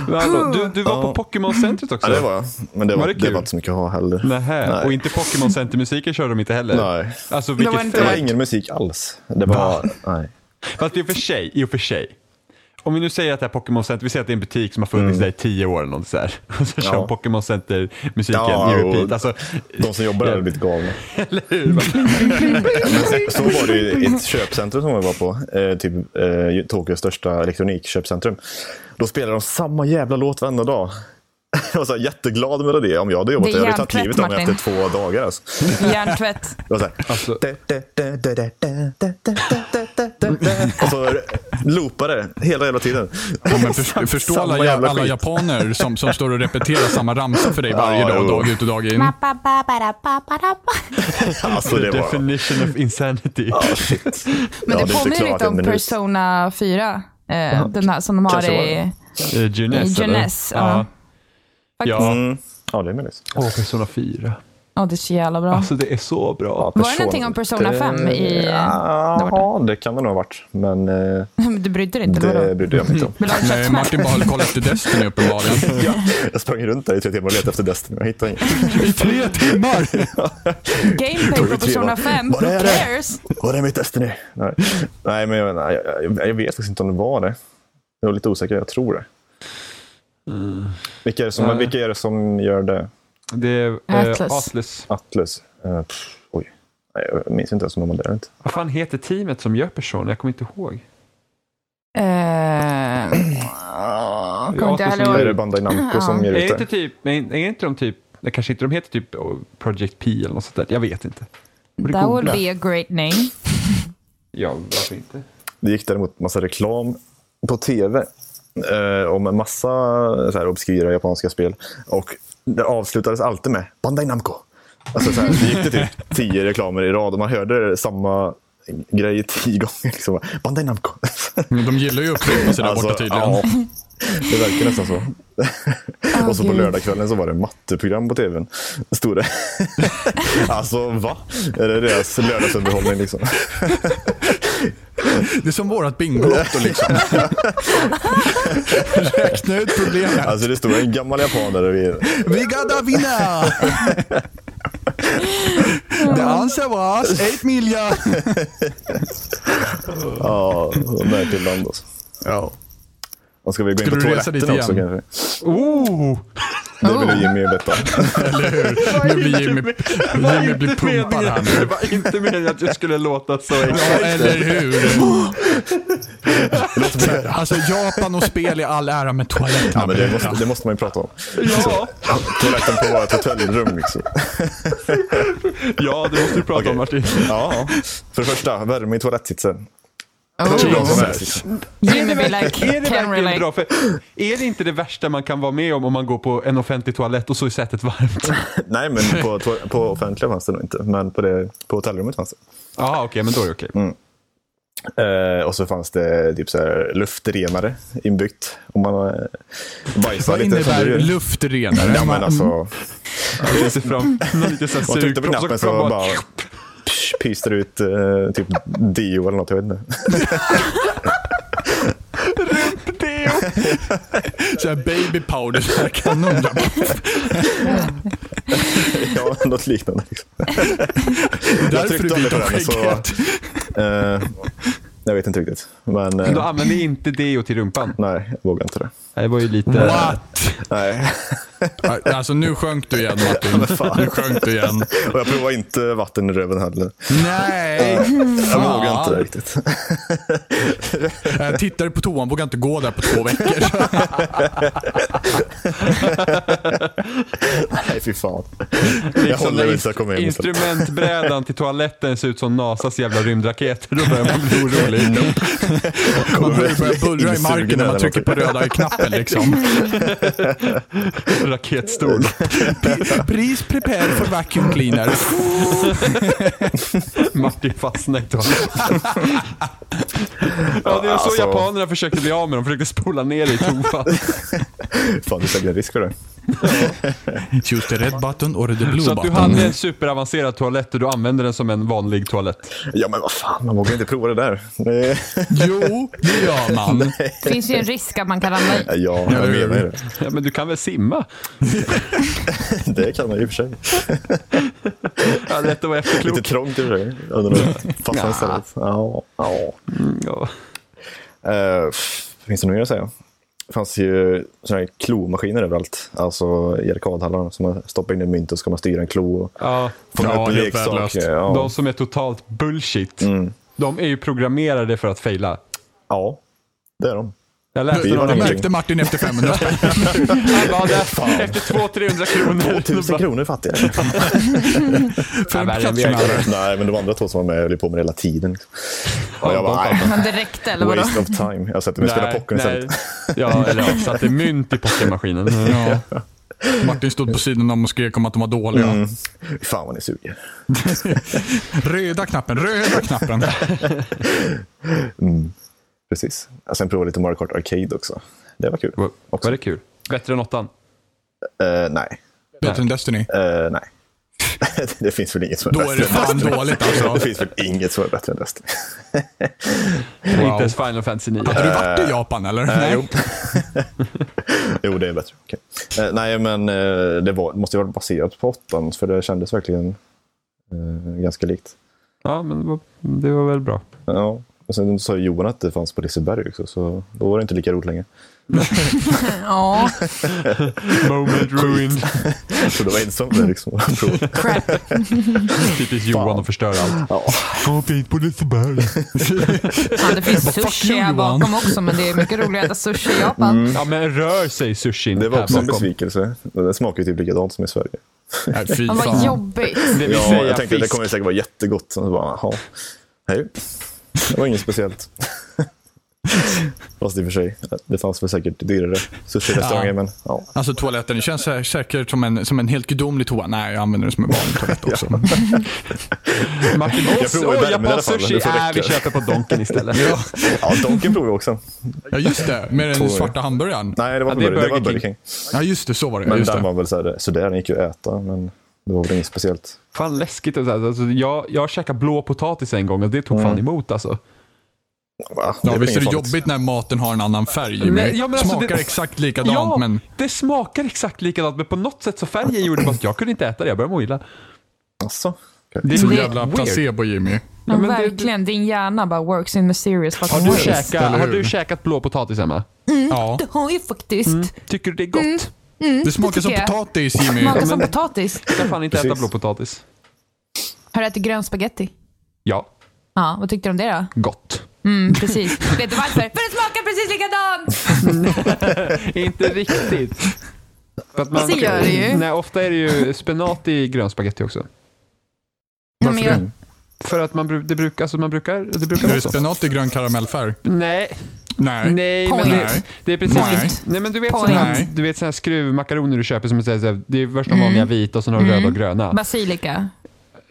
Men hallå, du, du var på Pokémon-centret också?
Ja, det var jag. Men det var,
Var det
det
kul?
var inte så mycket att ha heller.
Nähä,
Nej.
och inte Pokémon Center-musiken körde de inte heller?
Nej.
Alltså,
var
vilket
inte
Det var
fett.
ingen musik alls. Det var... Nej.
Fast i och för sig, i och för sig. Om vi nu säger att det här Pokémon Center, vi säger att det är en butik som har funnits där i tio år eller något sådär. Och så kör
Mm. Ja.
Pokémon Center-musiken
Ja, och-
i repeat. Alltså,
De Mm, som jobbar där hade blivit galna.
eller hur?
Så var det ju i ett köpcentrum som jag var på. Eh, typ eh, Tokyos största elektronikköpcentrum. Då spelade de samma jävla låt varenda dag. Jag var så här, jätteglad med det. Om jag hade jobbat
Det är
där, jag hade tagit
hjärntvätt,
livet av mig
Martin.
efter två dagar. Alltså.
Hjärntvätt.
Det var så här.
Alltså-
Da, da, da, da, da, da, da, da, da, da, da. Och så loopade det hela jävla tiden.
Ja, men för, förstå alla,
Samma jävla
alla
skit.
japaner som, som står och repeterar samma ramsa för dig varje
Ja,
dag,
jo.
dag ut och dag in.
Alltså,
The
det var...
definition of insanity.
Ah, Ja,
Men det
är inte
påminner
klart
lite
en
om
minut.
Persona 4. Eh, den här som de har
Kanske var
i...
det.
Eh, Jeunesse, eller?
Jeunesse, ja.
ja. Ja,
Mm. Ja, det är möjligt.
Åh, Persona 4.
Ja, det är så jävla bra.
Alltså det är så bra.
Var det någonting om Persona 5 i- där
Ja,
borta?
det kan det nog ha varit. Men eh,
du brydde dig inte?
det
vadå?
brydde jag mig inte om.
Vill du ha en
Nej,
köttsmäll?
Martin bara kollar efter Destiny uppenbarligen.
Ja, jag sprang runt där i tre timmar och letade efter Destiny och hittade inget.
I tre timmar!
Gameplay på Persona 5?
Var
Who
är det?
cares?
Var är mitt Destiny? Nej, nej men jag, nej, jag, jag vet faktiskt inte om det var det. Jag är lite osäker, jag tror det. Vilka är det som,
Nej.
vilka är det som gör det?
Det är
Atlas.
Atlas. Atlas.
Atlus? Eh, pff, oj. Nej, jag minns inte ens om de hade det. eller inte.
Vad fan heter teamet som gör Persona? Jag kommer inte ihåg.
Eh, Kommer inte
Asus
heller
som
Är
ihåg.
det Bandai Namco som ger
Är
ut
inte
det?
typ, nej, är inte de typ, nej, kanske inte de heter typ oh, Project P eller något sånt där. Jag vet inte. Borde
That would be
googla.
a great name.
Ja, varför inte?
Det gick däremot massa reklam på tv eh, om en massa så här, obskyra japanska spel. Och det avslutades alltid med Bandai Namco. Alltså, så här, det gick det typ tio reklamer i rad och man hörde samma grej tio gånger. Liksom. Bandai Namco. Alltså,
De gillar ju att upprepa sig där borta tydligen.
ja, det verkar nästan så. och så på
gud.
lördagskvällen så var det matteprogram på tvn. Stod det. alltså, va? Är det deras lördagsunderhållning? Liksom?
Det är som vårat Bingolotto liksom. Räkna ut problemet.
Alltså, det stod en gammal japanare vid
Vi gotta vinna! The answer was 8 miljoner.
Ja, märkligt land alltså.
Ja.
Och ska vi gå in
Skulle
på
du resa dit
toaletten också
igen?
kanske?
Oh!
Det ville Jimmy veta.
Nu blir Jimmy, Jimmy blir pumpad här nu.
Det var inte meningen att jag skulle låta så
Ja, eller hur?
Låt bli.
Alltså Japan och spel i all ära, men toaletterna.
Ja, men det, måste, det måste man ju prata om.
Ja,
Toaletten på vårt hotellrum. Liksom.
ja det måste du prata
Okej.
om Martin.
Ja, för det första, värme i toalettsitsen. Hur bra som
Oh.
helst.
Jimmy be like,
Är det
can
verkligen bra?
relate.
För är det inte det värsta man kan vara med om om man går på en offentlig toalett och så är sätet varmt?
Nej, men på, to- på offentliga fanns det nog inte. Men på, det, på hotellrummet fanns det.
Ja, okej, men då är det okej.
Eh, och så fanns det typ så här, luftrenare inbyggt. Om man eh, bajsar
Vad
lite. som
innebär
du gör.
luftrenare?
Ja, men alltså.
Jag ser fram någon liten sån här
Man tryckte på
sugpropp,
knappen så
fram
bara psh, pyste det ut eh, typ Dio eller något. Jag vet inte.
Så här baby powder, så här kanon.
Ja, något liknande. Liksom.
Därför du
tryckte aldrig
byter
på den, så-
skägget.
Eh, jag vet inte riktigt. Men eh,
Du använder inte deo till rumpan.
nej, jag vågar inte det.
Det var ju lite...
What?
Nej.
Alltså nu sjönk du igen Martin. Nu sjönk du igen.
Och jag provar inte vatten i röven heller.
Nej!
Jag vågar inte det riktigt.
Jag tittade Eh, på toan, vågade inte gå där på två veckor.
Nej, fy fan.
Liksom
Jag håller inte, jag kommer hem istället.
Liksom Instrumentbrädan till toaletten ser ut som NASAs jävla rymdraketer. Då börjar man bli orolig.
Man börjar börjar bullra i marken när man trycker på röda knappen liksom.
Raketstol.
Please prepare for vacuum cleaner.
Martin fastnade i toaletten. Ja, det är så
Alltså.
japanerna försökte bli av med dem. De försökte spola ner i toa.
Fan, du säkert risk för det.
Choose the red button or the blue
Så att du
button.
hade en superavancerad toalett och du använde den som en vanlig toalett.
Ja, men vad fan, man vågar inte prova det där. Det-
Jo, det gör man.
Det finns ju en risk att man kan ramla i.
Ja, jag menar ju det.
Ja, men du kan väl simma?
Det kan man ju i och för sig.
Ja, lätt att vara
Lite
efterklok.
trångt i och för sig. Jag undrar om det Passar istället. Ja, ja.
Ja.
Eh, finns det något mer att säga? Det fanns ju såna här klomaskiner överallt. Alltså i arkadhallarna. Som man stoppar in en mynt och ska man styra en klo. Och
Ja.
fånga
Ja,
upp en
helt
leksak.
värdelöst.
Ja. Mm.
De som är totalt bullshit. De är ju programmerade för att faila.
ja, det är de.
Jag läste
Vi
någon
har
Det
en
annan.
märkte Martin efter 500 spänn.
Han bara, där, efter 200-300 kronor. Då
2000
bara,
kronor fattiga.
För en
Ja,
plats
världen, vi
med
Nej, men de andra två som var med höll ju på med det hela tiden. liksom. Och jag
de
bara, nej,
Men det räckte eller vadå?
waste of time. Jag sätter mig och spelar
nej,
pocken istället.
nej. Ja, eller ja, satte mynt i pokermaskinen.
Ja. Martin stod på sidan om och skrek om att de var dåliga.
Mm. Fan vad ni suger.
Röda knappen, röda knappen.
Precis. Alltså, Jag sen provade lite Mario Kart Arcade också. Det var kul.
Var, var det kul? Bättre än åttan?
Eh, nej.
Bättre än Destiny.
Eh, nej. det finns väl inget som är
Då
bättre
är det
än
fan
Destiny.
dåligt alltså.
Det finns väl inget som är bättre än Destiny.
Inte ens Final Fantasy 9.
Hade du
Eh,
varit i Japan eller? Nej.
Jo, det är bättre. Okej. Eh, nej, men eh, det var, måste ju vara baserat på åttan, för det kändes verkligen eh, ganska likt.
Ja, men det var- det var väl bra.
Ja. Och sen sa ju Johan att det fanns på Liseberg också, så då var det inte lika roligt längre.
Ja,
Moment ruined.
Så då var jag ensam med det liksom.
crap.
Typiskt Johan och förstör allt.
ja.
Kom hit på Liseberg.
Fan, det finns
fuck
sushi
you,
här
Johan.
bakom också, men det är mycket roligare att äta sushi i Japan.
Ja, men rör sig sushin
Det var
här
också en
bakom.
besvikelse. Det smakar ju typ likadant som i Sverige.
Nej, fy
Men vad
fan.
jobbigt.
Det vill
Ja,
säga
jag tänkte
fisk.
det kommer säkert vara jättegott. Sen så bara, jaha. Hej. Det var inget speciellt. Fast i och för sig, det fanns väl säkert dyrare sushi-restauranger.
Ja.
Men, ja.
Alltså toaletten, det känns sä- säkert som en, som en helt gudomlig toa. Nej, jag använder den som en vanlig toalett också.
Martin,
Jag provar värmen i
åh,
alla
japansk
fall,
sushi.
det får
Äh, vi
räcka.
köper på Donken istället.
Ja,
ja, Donken provade vi också.
ja just det. Med den svarta hamburgaren.
Nej, det var,
Ja,
ja,
det är
Burger, det var
Burger
Burger
King.
King.
Ja, just det. Så var det.
Men
Just
den
det.
var väl så här, sådär, den gick ju att äta. Men det var väl inget speciellt.
Fan läskigt. och så här. Alltså, jag, jag käkade blå potatis en gång och det tog
Mm.
fan emot alltså.
Va?
Ja,
väl
visst är
inget
det
farligt.
jobbigt när maten har en annan färg.
Nej, ja, men alltså,
smakar
det-
exakt likadant, men
det smakar exakt likadant men på något sätt så färgen gjorde bara att jag kunde inte äta det. Jag började må illa.
Alltså, okej.
Det är
så
lite
jävla
weird.
placebo Jimmy.
Ja,
men det-
verkligen, din hjärna bara works in mysterious fucking
Har du,
ways.
käkat,
eller
har
hur?
du käkat blå potatis Emma?
Ja.
Det har ju faktiskt. Mm,
Tycker du Mm. det är gott?
Det smakar
det
som
tycker jag.
potatis Jimmy.
Smakar som
men-
potatis.
Jag kan fan inte äta
Precis.
blå potatis.
Har du ätit grön spaghetti?
Ja,
Ja, vad tyckte du om det då?
gott.
Mm, precis. Vet du varför? För det smakar precis likadant!
inte riktigt. För att man,
Alltså, gör det ju.
Nej, ofta är det ju spenat i grön spagetti också.
Nej, men jag,
För att man, bru- det brukar, alltså man brukar, det brukar
Är
vara
det
så.
spenat i grön karamellfärg?
Nej,
Nej.
nej,
Point.
men det, det är precis.
Nej.
Nej. men du vet
Point.
sådana här,
Nej.
du vet såna här skruvmakaroner du köper som är så här, det är först de
Mm.
vanliga vita och sen har du röda och gröna.
basilika.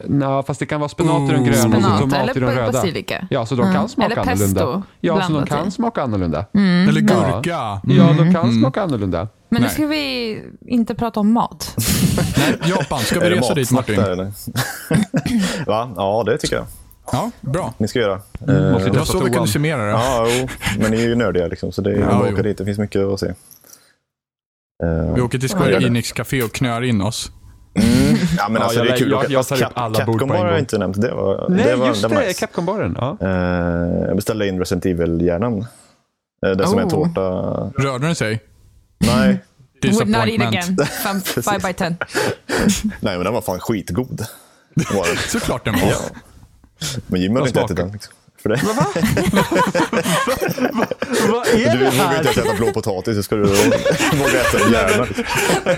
Nå, fast det kan vara spenat i de gröna och
Spenat
så tomat i de
eller
röda.
basilika. Mm.
Ja, så de kan smaka
Eller pesto
annorlunda. Ja, så de
blandat
kan
i.
smaka annorlunda.
Eller gurka? Mm.
Ja, de kan smaka annorlunda.
Men nu
Nej.
ska vi inte prata om mat.
Mm. Nej, Japan, ska vi
Är det eh?
resa dit
matsnack
Martin?
där, eller? Va? Ja, det tycker jag.
Ja, bra.
Ni ska göra. Eh,
Måste
Det
testa
var så vi
toan.
kunde summera det.
Ja, jo. men ni är ju nördiga liksom, så det är ju
Ja,
bara att
jo.
åka dit. Det finns mycket att se. Eh,
Vi åker till
Ja,
Square
det.
Enix Café och knör in oss.
Ja, men
Ja,
alltså,
jag
det är
lä-
kul.
jag-
att-
jag
fast
tar upp
Cap-
alla bord på en
Capcom har
gång.
jag inte nämnt. Det var,
Nej,
det var,
just
det.
det.
Var nice.
Capcom-baren. Ja.
Eh, jag beställde in Resident Evil-hjärnan. Eh, den som är en
Oh.
tårta.
Rörde den sig?
Nej.
Would not eat
Disappointment.
again. Fem- Five by ten.
Nej, men den var fan skitgod. Var den.
Såklart den var.
Men Jimmy har
Vad
inte ätit
smakar?
den. Liksom. för det.
Va? Vad är
Du
det
vågar inte
här?
ens äta blå potatis, hur ska du våga äta en hjärna?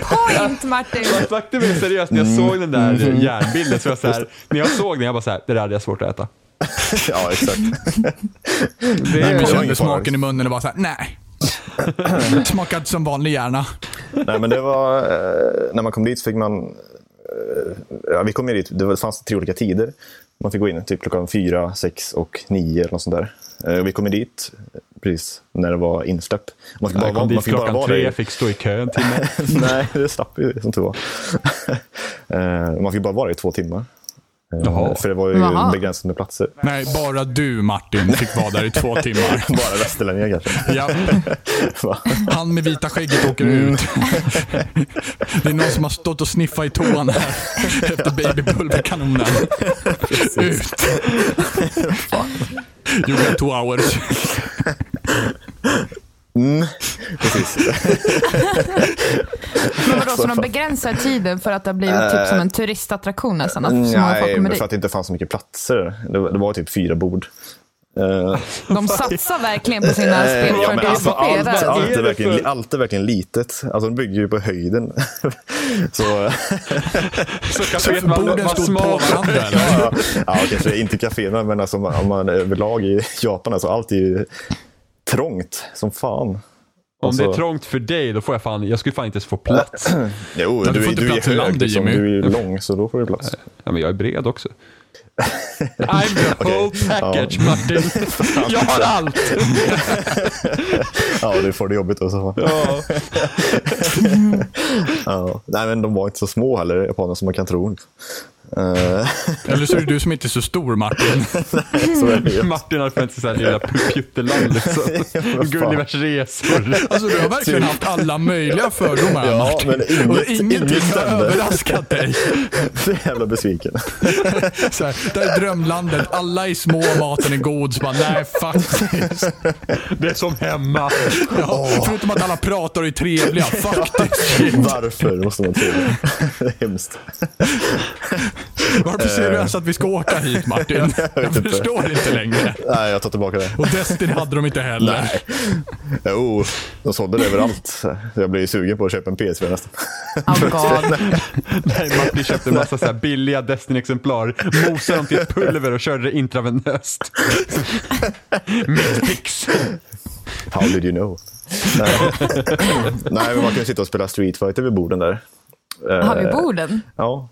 Point Martin!
Vakten mig seriöst när jag
Mm.
såg den där järnbilden. Så var jag så här, när jag såg den, jag bara så här, det där hade jag svårt att äta.
Ja, exakt.
Det
Nej,
är,
men
det var
kände
ingen fara.
smaken i munnen och bara såhär, nej. Smakade som vanlig hjärna.
Nej, men det var... Eh, när man kom dit så fick man... Eh, ja, vi kom ju dit, det var- det fanns tre olika tider. Man fick gå in typ klockan fyra, sex och nio eller något sånt där. Eh, och vi kom ju dit eh, precis när det var insläpp. Man fick bara,
jag kom
vara- man
dit
fick bara
klockan
vara där
tre,
i
fick stå i kö en timme.
Nej, det slapp vi som tur var. Eh, Man fick bara vara där i två timmar. Eh,
Jaha.
För det var ju
Jaha.
begränsat med platser.
Nej, bara du Martin fick vara där i två timmar.
Bara västerlänningar kanske.
Ja,
Va?
han med vita skägget åker
Mm.
ut. Det är någon som har stått och sniffat i toan här efter babypulverkanonen. Ut. You got two hours.
Precis.
Men vadå, så de begränsar tiden för att det har blivit typ som en turistattraktion nästan? Att så många folk
Eh, Nej,
kommer
men för att det
dit.
inte fanns så mycket platser. Det var, det var typ fyra bord. Eh,
De satsar verkligen på sina spel
ja,
för
men
det
alltså, allt,
är så
allt, är
för-
verkligen, allt är verkligen litet. Alltså, de bygger ju på höjden. så,
Så kaféet var,
Borden
var
stod på
smalt.
varandra. eller?
ja, ja, kanske inte kaféerna, men alltså, om man- om man är överlag i Japan, alltså, allt är ju trångt som fan.
Om det är
Alltså-
trångt för dig, då får jag fan, jag skulle fan inte ens få plats.
Jo,
Ja,
du,
du får
är-
inte
du är
plats i
hög.
landet,
liksom.
Jimmy.
Du är ju lång, så då får du plats.
Ja, men jag är bred också. I'm the
Okej.
whole package
Ja.
Martin. Jag har allt.
Ja, du får det jobbigt. Också.
Ja.
Ja. Nej, men de var inte så små heller, japanerna, som man kan tro. Eh,
Eller så är det du som inte är så stor Martin.
så är det ju.
Martin har funnits i så här lilla pjutteland liksom.
vad fan.
Gullivers resor.
Alltså du har verkligen haft alla möjliga fördomar här,
Typ. Ja,
Martin.
men
Och
inget,
ingenting
inget
har
stämde.
överraskat dig.
Så jävla besviken.
Så här, det här är drömlandet. Alla är små, maten är god. Så bara, nej faktiskt.
Det är som hemma.
Ja, Förutom att alla pratar och är trevliga. Faktiskt.
Varför, måste man tro. Hemskt.
Varför säger du ens att vi ska åka hit Martin?
Eh. jag
Jag
vet inte.
förstår inte längre.
Nej, jag tar tillbaka det.
Och Destiny hade de inte heller.
Nej. Jo, de sålde det överallt. Så Jag blir sugen på att köpa en PSV nästan.
Oh God.
Nej, Martin köpte en massa så här billiga Destiny-exemplar, mosade dem till ett pulver och körde det intravenöst. Mixpix.
How did you know? Nej, Nej men man kan ju sitta och spela Street Fighter vid borden där. Eh,
Har vi borden?
Ja.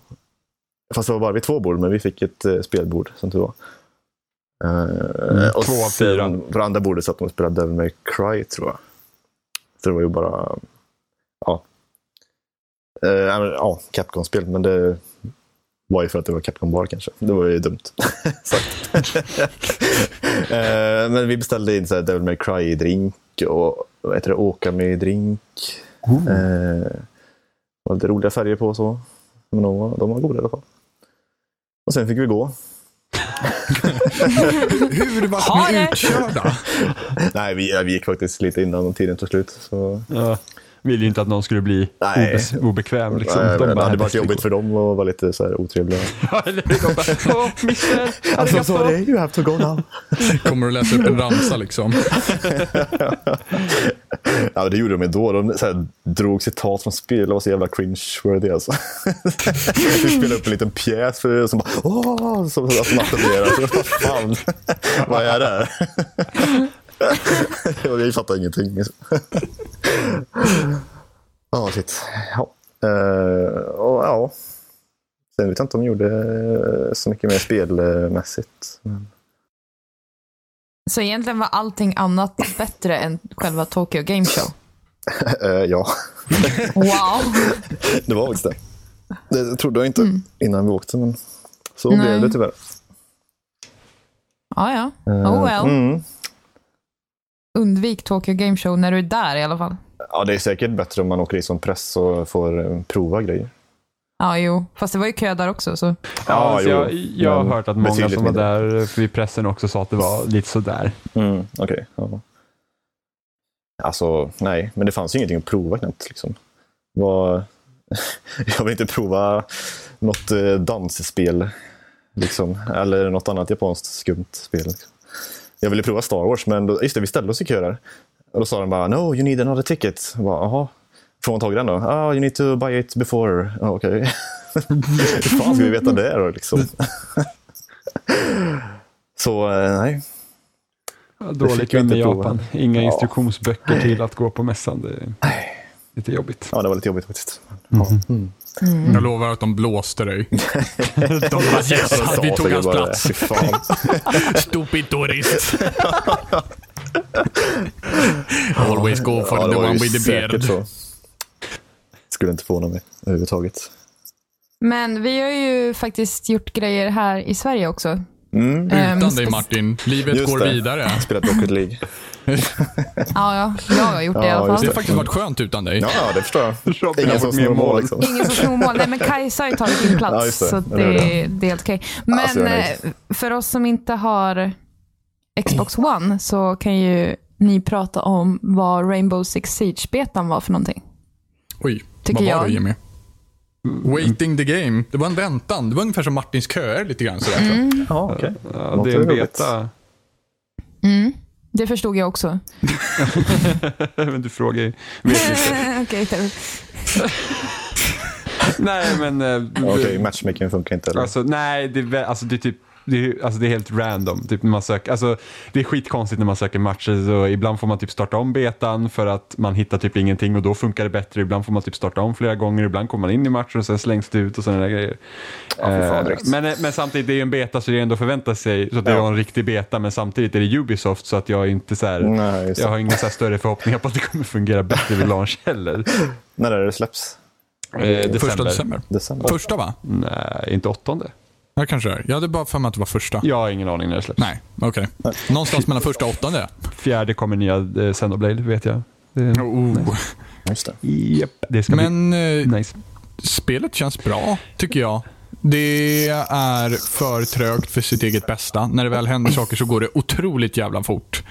Fast det var bara vid två bord, men vi fick ett eh, spelbord som tur var. Eh, och
Mm, två av
sen
fyra.
På det andra bordet satt de och spelade Devil May Cry, tror jag. Så det var ju bara... Ja. Eh, nej, men, ja, Capcom-spel, men det var ju för att det var Capcom Bar kanske. Det var ju dumt sagt. Eh, men vi beställde in så här Devil May Cry-drink och vad heter det, Åkami-drink.
Mm.
Eh, var lite roliga färger på och så. Men de var, de var goda i alla fall. Och sen fick vi gå.
Hur
Ha
vart ni
det.
utkörda?
Nej, vi, ja, vi gick faktiskt lite innan tiden tog slut. Så,
Ja. Vill ju inte att någon skulle bli
Nej.
obes- obekväm. Liksom.
nej, men det hade
"Här,
varit
Destiny
jobbigt för dem att vara lite så här otrevliga.
Ja, eller hur? De bara, åh, mister, arigato."
Alltså, you have to go now.
Kommer du läsa upp en ramsa liksom?
ja, men det gjorde de ändå. De så här, drog citat från spel. Det var så jävla cringe-worthy alltså. vi spelade upp en liten pjäs för som bara åh, som, som, som applåderade. Så, Vad fan, vad är det här? Vi fattar ingenting. liksom. Ja, shit. Ja. Eh, och, ja. Sen vet jag inte om de gjorde eh, så mycket mer spelmässigt. Men...
Så egentligen var allting annat bättre än själva Tokyo Game Show?
Eh, ja.
Wow!
Det var faktiskt det. Det trodde jag inte innan vi åkte, men så blev
Mm. Nej.
det tyvärr.
Ja, ja. Oh well.
Mm.
Undvik Tokyo Game Show när du är där i alla fall.
Ja, det är säkert bättre om man åker dit som press och får eh, prova grejer.
Ja, jo. Fast det var ju kö där också. Så.
Ja,
Ja, alltså,
jo.
jag, jag har
Men
hört att många
betydligt
som var
mindre.
där vid pressen också sa att det var lite sådär.
Mm. Okej. ja. Alltså, nej, men det fanns ju ingenting att prova knappt. Liksom. Vad- Jag vill inte prova något eh, dansspel. Liksom. Eller något annat japanskt skumt spel. Liksom. Jag ville prova Star Wars, men då, just det, vi ställde oss i kö där. Och då sa de bara “No, you need another ticket”. Jag bara, Jaha, får man tag i den då? “Ah, you need to buy it before”. Ja, Okej. Hur fan ska vi veta det då? Liksom? Så eh, nej,
Ja,
Det
dåligt
fick vi
vän
inte
i Japan.
prova.
Inga
Ja.
instruktionsböcker till att gå på mässan. Det är lite jobbigt.
ja, det var lite jobbigt faktiskt.
Jag lovar att de blåste dig. De bara yes, han, vi tog hans plats.
Fy fan.
Stupid tourist. Always go for
Ja,
the
det var
one
ju
with the
säkert
beard.
så. Skulle inte förvåna mig överhuvudtaget.
Men vi har ju faktiskt gjort grejer här i Sverige också.
Mm.
Ehm,
Utan dig
spec-
Martin. Livet
Just
går
det.
vidare.
Spelat Rocket League.
Ja, ja, jag har gjort det i
Ja,
alla
just
Det
fall.
har faktiskt varit skönt utan dig.
Ja, ja, det förstår jag.
Robin har
Ingen som
fått mer
snor mål
mål.
liksom.
Ingen som snor mål. Nej, men Kajsa har ju tagit din plats,
Ja, just det.
så
Det är
det, det är helt okej. Men
Alltså, jag är nöjd.
eh, för oss som inte har Xbox One så kan ju ni prata om vad Rainbow Six Siege-betan var för någonting.
Oj,
Tycker
vad var
jag.
det Jimmy?
Mm.
Waiting the game. Det var en väntan. Det var ungefär som Martins köer lite grann. Sådär, tror jag.
Ja, okej.
Ja,
Låter
det är en
roligt.
beta.
Mm. Det förstod jag också.
Men du frågar ju. vet inte.
Okej, där.
Nej, men... eh,
Okej, matchmaking funkar inte. Eller?
Alltså, nej, det är, vä- alltså, det är typ det är, alltså det är helt random. Typ när man söker, alltså det är skitkonstigt när man söker matcher. Så ibland får man typ starta om betan för att man hittar typ ingenting och då funkar det bättre. Ibland får man typ starta om flera gånger. Ibland kommer man in i matchen och sen slängs det ut och sådana där grejer.
fy fan,
Eh,
direkt.
men, eh, men samtidigt, det är ju en beta så det är ändå förväntat sig. Så att det
Ja.
var en riktig beta men samtidigt är det Ubisoft så att jag är inte så här,
Nej, just det.
jag har inga så här större förhoppningar på att det kommer fungera bättre vid launch heller.
När är det det släpps?
Eh, december.
Första december.
December?
Första va?
Nej, inte åttonde.
Ja, kanske det är. Jag hade bara för mig att det var första.
Jag har ingen aning när det släpps.
Nej, okej. Någonstans mellan första och åttonde.
Fjärde kommer nya eh, Xenoblade, vet jag. Det,
Oh.
Just det.
yep. det ska
Men eh,
bli nice.
spelet känns bra, tycker jag. Det är för trögt för sitt eget bästa. När det väl händer saker så går det otroligt jävla fort.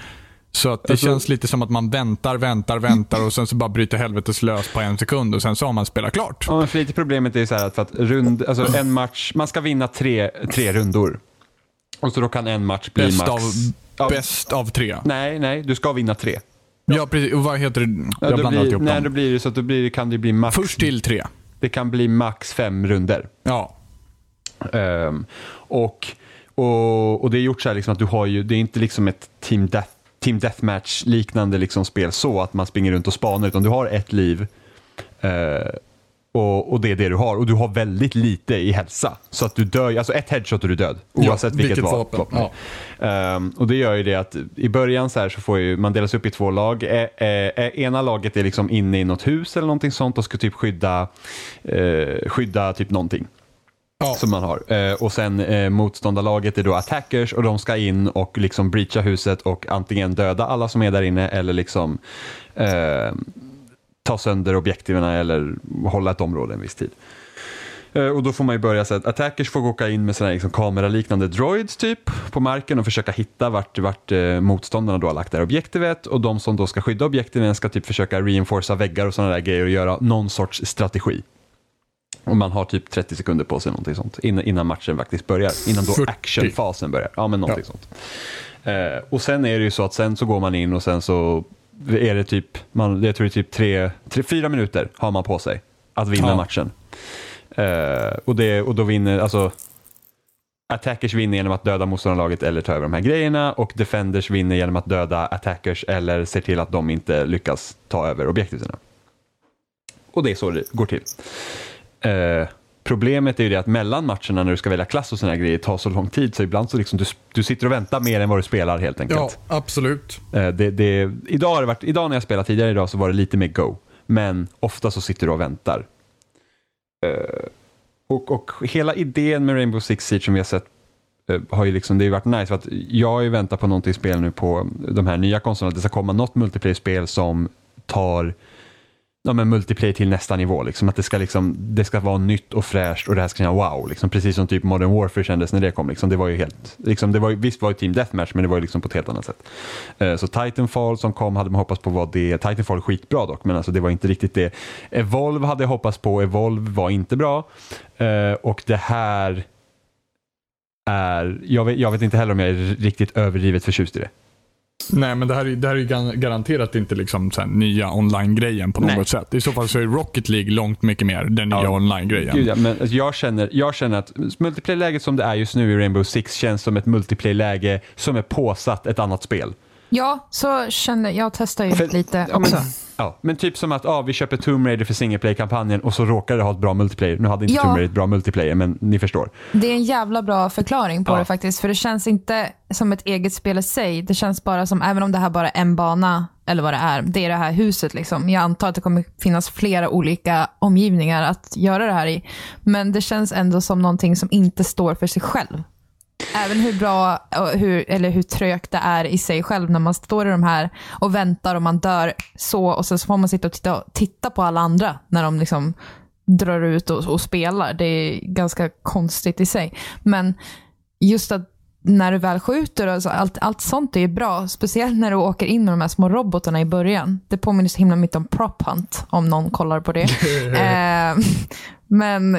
Så att det
Alltså-
känns lite som att man väntar, väntar, väntar och sen så bara bryter helvetes lös på en sekund och sen så har man spelat klart.
Ja, men för lite problemet är ju så här att, för att rund, alltså en match, man ska vinna tre, tre rundor. Och så då kan en match bli
Bäst
max...
av,
Ja,
bäst av tre.
Nej, nej, du ska vinna tre.
Ja, precis. Och vad heter det?
Ja,
Jag
då
blandar
blir,
alltid ihop
nej, då
dem.
blir det så att då blir, det- kan det bli max...
Först till tre.
Det kan bli max fem runder.
Ja.
Ehm, och, och, och det är gjort så här liksom att du har ju, det är inte liksom ett team, death, team deathmatch liknande liksom spel så att man springer runt och spanar utan du har ett liv eh, och, och det är det du har och du har väldigt lite i hälsa så att du dör, alltså ett headshot och du är död oavsett
Ja,
vilket,
vilket
va-
vapen. Ja.
Ehm, och det gör ju det att i början så här så får ju, man delas upp i två lag. Eh, eh, eh, ena laget är liksom inne i något hus eller någonting sånt och ska typ skydda, eh, skydda typ någonting
Ja.
som man har. Eh, och sen eh, motståndarlaget är då attackers och de ska in och liksom breacha huset och antingen döda alla som är där inne eller liksom eh, ta sönder objektiven eller hålla ett område en viss tid. Eh, Och då får man ju börja så att attackers får åka in med såna här liksom kameraliknande droids typ på marken och försöka hitta vart, vart eh, motståndarna då har lagt det här objektivet och de som då ska skydda objektiven ska typ försöka reinforcea väggar och sådana där grejer och göra någon sorts strategi. Och man har typ 30 sekunder på sig någonting sånt innan, innan matchen faktiskt börjar. Innan då
40.
actionfasen börjar. Ja, men någonting sånt. Eh, och sen är det ju så att sen så går man in och sen så är det typ, man, jag tror det är typ tre, tre, fyra minuter har man på sig att vinna
Ja.
matchen. Eh, och, det, och då vinner, alltså attackers vinner genom att döda motståndarlaget eller ta över de här grejerna och defenders vinner genom att döda attackers eller ser till att de inte lyckas ta över objektiven. Och det är så det går till. Eh, problemet är ju det att mellan matcherna när du ska välja klass och sådana här grejer tar så lång tid så ibland så liksom du, du sitter och väntar mer än vad du spelar helt enkelt.
Ja, absolut.
Eh, Det, det, idag, har det varit, idag när jag spelade tidigare idag så var det lite mer go. Men ofta så sitter du och väntar. Eh, Och, och hela idén med Rainbow Six Siege som vi har sett eh, har ju liksom, det har ju varit nice. För att jag har ju väntat på någonting spel nu på de här nya konsolerna. att Det ska komma något multiplayer-spel som tar ja, men multiplayer till nästa nivå. Liksom. Att det ska, liksom, det ska vara nytt och fräscht och det här ska kännas wow. Liksom. Precis som typ Modern Warfare kändes när det kom. Liksom. Det var ju helt, liksom, det var, ju- visst var det Team Deathmatch men det var ju liksom på ett helt annat sätt. Eh, Så Titanfall som kom hade man hoppats på var det. Titanfall är skitbra dock men alltså, det var inte riktigt det. Evolve hade jag hoppats på, Evolve var inte bra. Eh, Och det här är... Jag vet, jag vet inte heller om jag är riktigt överdrivet förtjust i det.
Nej, men det här, är- det här är ju gar- garanterat inte liksom så här nya online-grejen på något
Nej.
sätt. I så fall så är Rocket League långt mycket mer den nya
Ja.
online-grejen.
Gud, ja, men alltså, jag, känner, jag känner att multiplayer-läget som det är just nu i Rainbow Six känns som ett multiplayer-läge som är påsatt ett annat spel.
Ja, så känner jag. testar ju
För-
lite
ja, men-
också.
Ja, men typ som att ah, vi köper Tomb Raider för singleplayer-kampanjen och så råkar det ha ett bra multiplayer. Nu hade inte
Ja.
Tomb Raider ett bra multiplayer, men ni förstår.
Det är en jävla bra förklaring på
Ja.
det faktiskt. För det känns inte som ett eget spel i sig. Det känns bara som, även om det här bara är en bana, eller vad det är, det är det här huset liksom. Jag antar att det kommer finnas flera olika omgivningar att göra det här i. Men det känns ändå som någonting som inte står för sig själv. Även hur bra, och hur, eller hur trögt det är i sig själv när man står i de här och väntar och man dör så och sen så får man sitta och titta, titta på alla andra när de liksom drar ut och, och spelar. Det är ganska konstigt i sig. Men just att när du väl skjuter, alltså allt, allt sånt är ju bra. Speciellt när du åker in med de här små robotarna i början. Det påminner så himla mycket om Prop Hunt, om någon kollar på det. eh, men,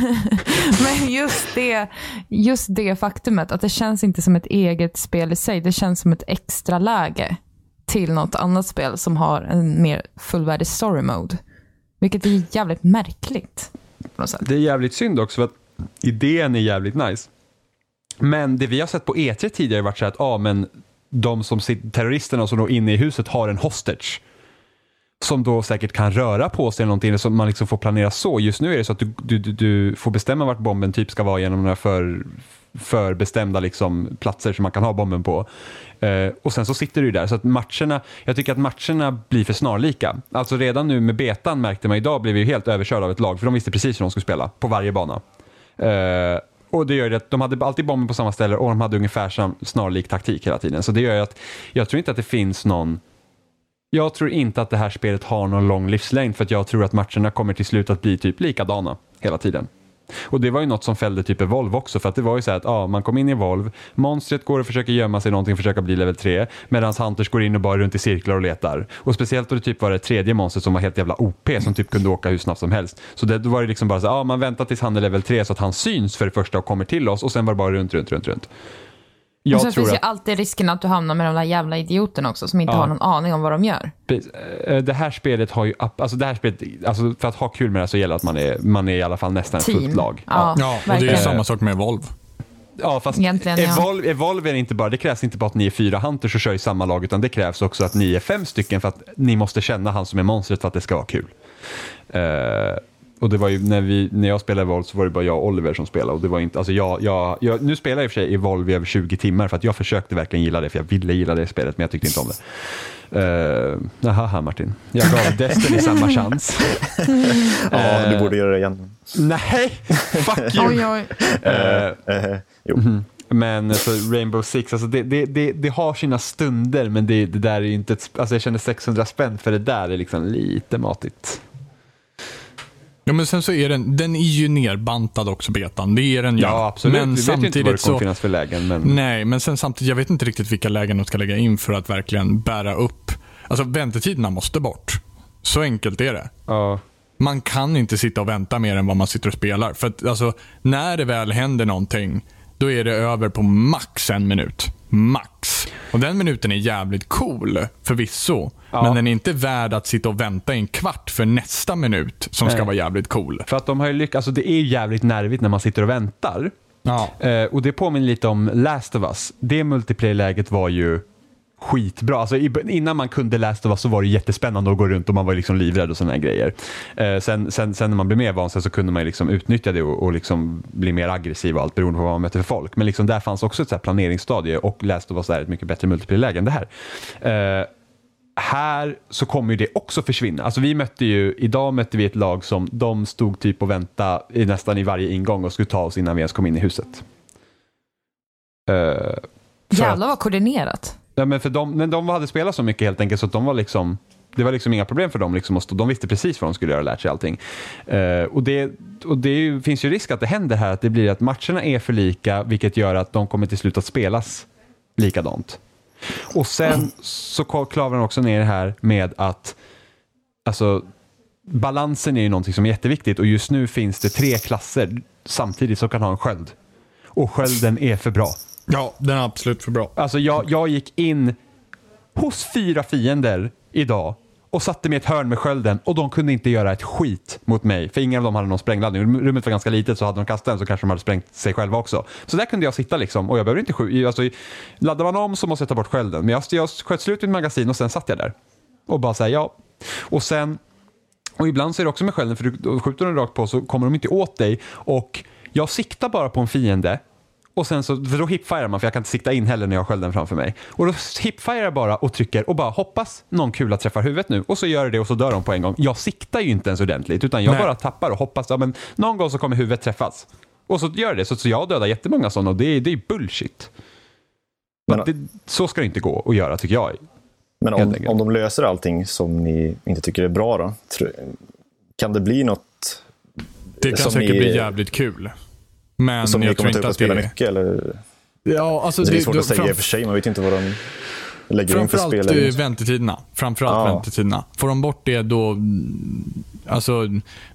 men just, det, just det faktumet, att det känns inte som ett eget spel i sig. Det känns som ett extra läge till något annat spel som har en mer fullvärdig story mode. Vilket är jävligt märkligt. På något sätt.
Det är jävligt synd också för att idén är jävligt nice. Men det vi har sett på E3 tidigare har varit så här att ah, men de som sitter, terroristerna som då är inne i huset har en hostage. Som då säkert kan röra på sig eller någonting, eller som man liksom får planera så. Just nu är det så att du, du, du, du får bestämma vart bomben typ ska vara genom några för, förbestämda liksom platser som man kan ha bomben på. Eh, och sen så sitter du ju där. Så att matcherna, jag tycker att matcherna blir för snarlika. Alltså redan nu med betan märkte man idag blev vi ju helt överkörda av ett lag, för de visste precis hur de skulle spela på varje bana. Eh, och det gör ju att de hade alltid bomben på samma ställe och de hade ungefär sam, snarlik taktik hela tiden. Så det gör ju att jag tror inte att det finns någon jag tror inte att det här spelet har någon lång livslängd för att jag tror att matcherna kommer till slut att bli typ likadana hela tiden. Och det var ju något som fällde typ Evolve också för att det var ju så här att ja, man kom in i Evolve, monstret går och försöker gömma sig i någonting och försöka bli level 3 medan Hunters går in och bara är runt i cirklar och letar. Och speciellt då det typ var det tredje monstret som var helt jävla OP som typ kunde åka hur snabbt som helst. Så det, då var det liksom bara så här, ja man väntar tills han är level 3 så att han syns för det första och kommer till oss och sen var det bara runt, runt, runt, runt.
och
Jag
sen
tror
finns
att...
ju alltid risken att du hamnar med de där jävla idioterna också som inte
Ja.
har någon aning om vad de gör.
Precis. Eh, Det här spelet har ju, app- alltså det här spelet, alltså för att ha kul med det här så gäller det att man är, man är i alla fall nästan ett fullt
Team.
lag.
Ja,
Ja, och det är ju
verkligen.
samma sak med Volvo.
ja fast
Egentligen, ja.
Evolve, Evolve är det inte bara, det krävs inte bara att ni är fyra hunters och kör i samma lag utan det krävs också att ni är fem stycken för att ni måste känna han som är monstret för att det ska vara kul. Eh, och det var ju när, vi, när jag spelade Evolve så var det bara jag och Oliver som spelade och det var inte, alltså jag, jag, jag, nu spelar jag i och för sig Evolve i över 20 timmar för att jag försökte verkligen gilla det för jag ville gilla det spelet men jag tyckte inte om det. Uh, haha Martin, jag gav Destiny samma chans.
Eh,
Ja, du borde göra det igen.
Nej, fuck you!
Oj, oj.
Eh,
Eh, jo.
Mhm.
men eh, så Rainbow Six, alltså det, det, det, det har sina stunder men det, det där är ju inte ett, sp- alltså jag känner 600 spänn för det där är liksom lite matigt.
Ja, men sen så är den, den är ju nerbantad också, betan. Det är den ju.
Ja absolut,
Men
vi vet ju inte vad det
samtidigt
kommer
så...
finnas för lägen men
Nej, men sen samtidigt, jag vet inte riktigt vilka lägen de ska lägga in för att verkligen bära upp. Alltså väntetiderna måste bort. Så enkelt är det.
ja.
Man kan inte sitta och vänta mer än vad man sitter och spelar. För att alltså, när det väl händer någonting, då är det över på max en minut. Max. Och den minuten är jävligt cool, förvisso.
Ja.
Men den är inte värd att sitta och vänta i en kvart för nästa minut som ska
Nej.
vara jävligt cool.
För att de har ju lyckats, alltså det är ju jävligt nervigt när man sitter och väntar.
Ja.
Eh, och det påminner lite om Last of Us. Det multiplayer-läget var ju skitbra. Alltså, i, innan man kunde Last of Us så var det jättespännande att gå runt och man var liksom livrädd och sådana här grejer. Eh, sen, sen, sen när man blev mer van sig så kunde man ju liksom utnyttja det och, och liksom bli mer aggressiv och allt beroende på vad man mötte för folk. Men liksom där fanns också ett så här planeringsstadie och Last of Us är ett mycket bättre multiplayer-läge än det här. Eh, här så kommer ju det också försvinna. Alltså vi mötte ju, idag mötte vi ett lag som de stod typ och väntade i, nästan i varje ingång och skulle ta oss innan vi ens kom in i huset. Eh, för att,
Jävlar vad koordinerat.
ja, men, för de, men de hade spelat så mycket helt enkelt så att de var liksom, det var liksom inga problem för dem. Liksom, att stå- de visste precis vad de skulle göra och lärt sig allting. Eh, och det, och det är ju, finns ju risk att det händer här, att det blir att matcherna är för lika vilket gör att de kommer till slut att spelas likadant. Och sen så ko- klavar han också ner det här med att alltså, balansen är ju någonting som är jätteviktigt och just nu finns det tre klasser samtidigt som kan ha en sköld. Och skölden är för bra.
Ja, den är absolut för bra.
Alltså jag, jag gick in hos fyra fiender idag och satte mig i ett hörn med skölden och de kunde inte göra ett skit mot mig. För ingen av dem hade någon sprängladdning. Rummet var ganska litet så hade de kastat den så kanske de hade sprängt sig själva också. Så där kunde jag sitta liksom och jag behöver inte skjuta. Alltså, laddar man om så måste jag ta bort skölden. Men jag, jag sköt slut mitt magasin och sen satt jag där. Och bara säga ja. Och sen och ibland så är det också med skölden, för du då skjuter den rakt på så kommer de inte åt dig. Och jag siktar bara på en fiende. Och sen så, för då hipfirar man, för jag kan inte sikta in heller när jag har skölden framför mig. Och då hipfirar jag bara och trycker och bara hoppas någon kula träffar huvudet nu. Och så gör det det och så dör de på en gång. Jag siktar ju inte ens ordentligt, utan jag
Nej.
bara tappar och hoppas. Ja, men någon gång så kommer huvudet träffas. Och så gör det, så, så jag dödar jättemånga sådana och det, är- det är bullshit. Men,
Men-
det, så ska det inte gå att göra tycker jag.
Men
Helt
om,
enkelt.
om de löser allting som ni inte tycker är bra, då, tro- kan det bli något
Det kan
Som
säkert
ni-
bli jävligt kul. Men
som ni
jag tror
kommer ta upp
inte
och
att det
spela
är...
mycket? Eller?
Ja, alltså,
Det är svårt
då-
att säga i och
framf-
för sig, man vet inte vad de lägger in för
Framförallt
spel.
eh, väntetiderna. Framförallt
Ja.
väntetiderna. Får de bort det då... mm, Alltså,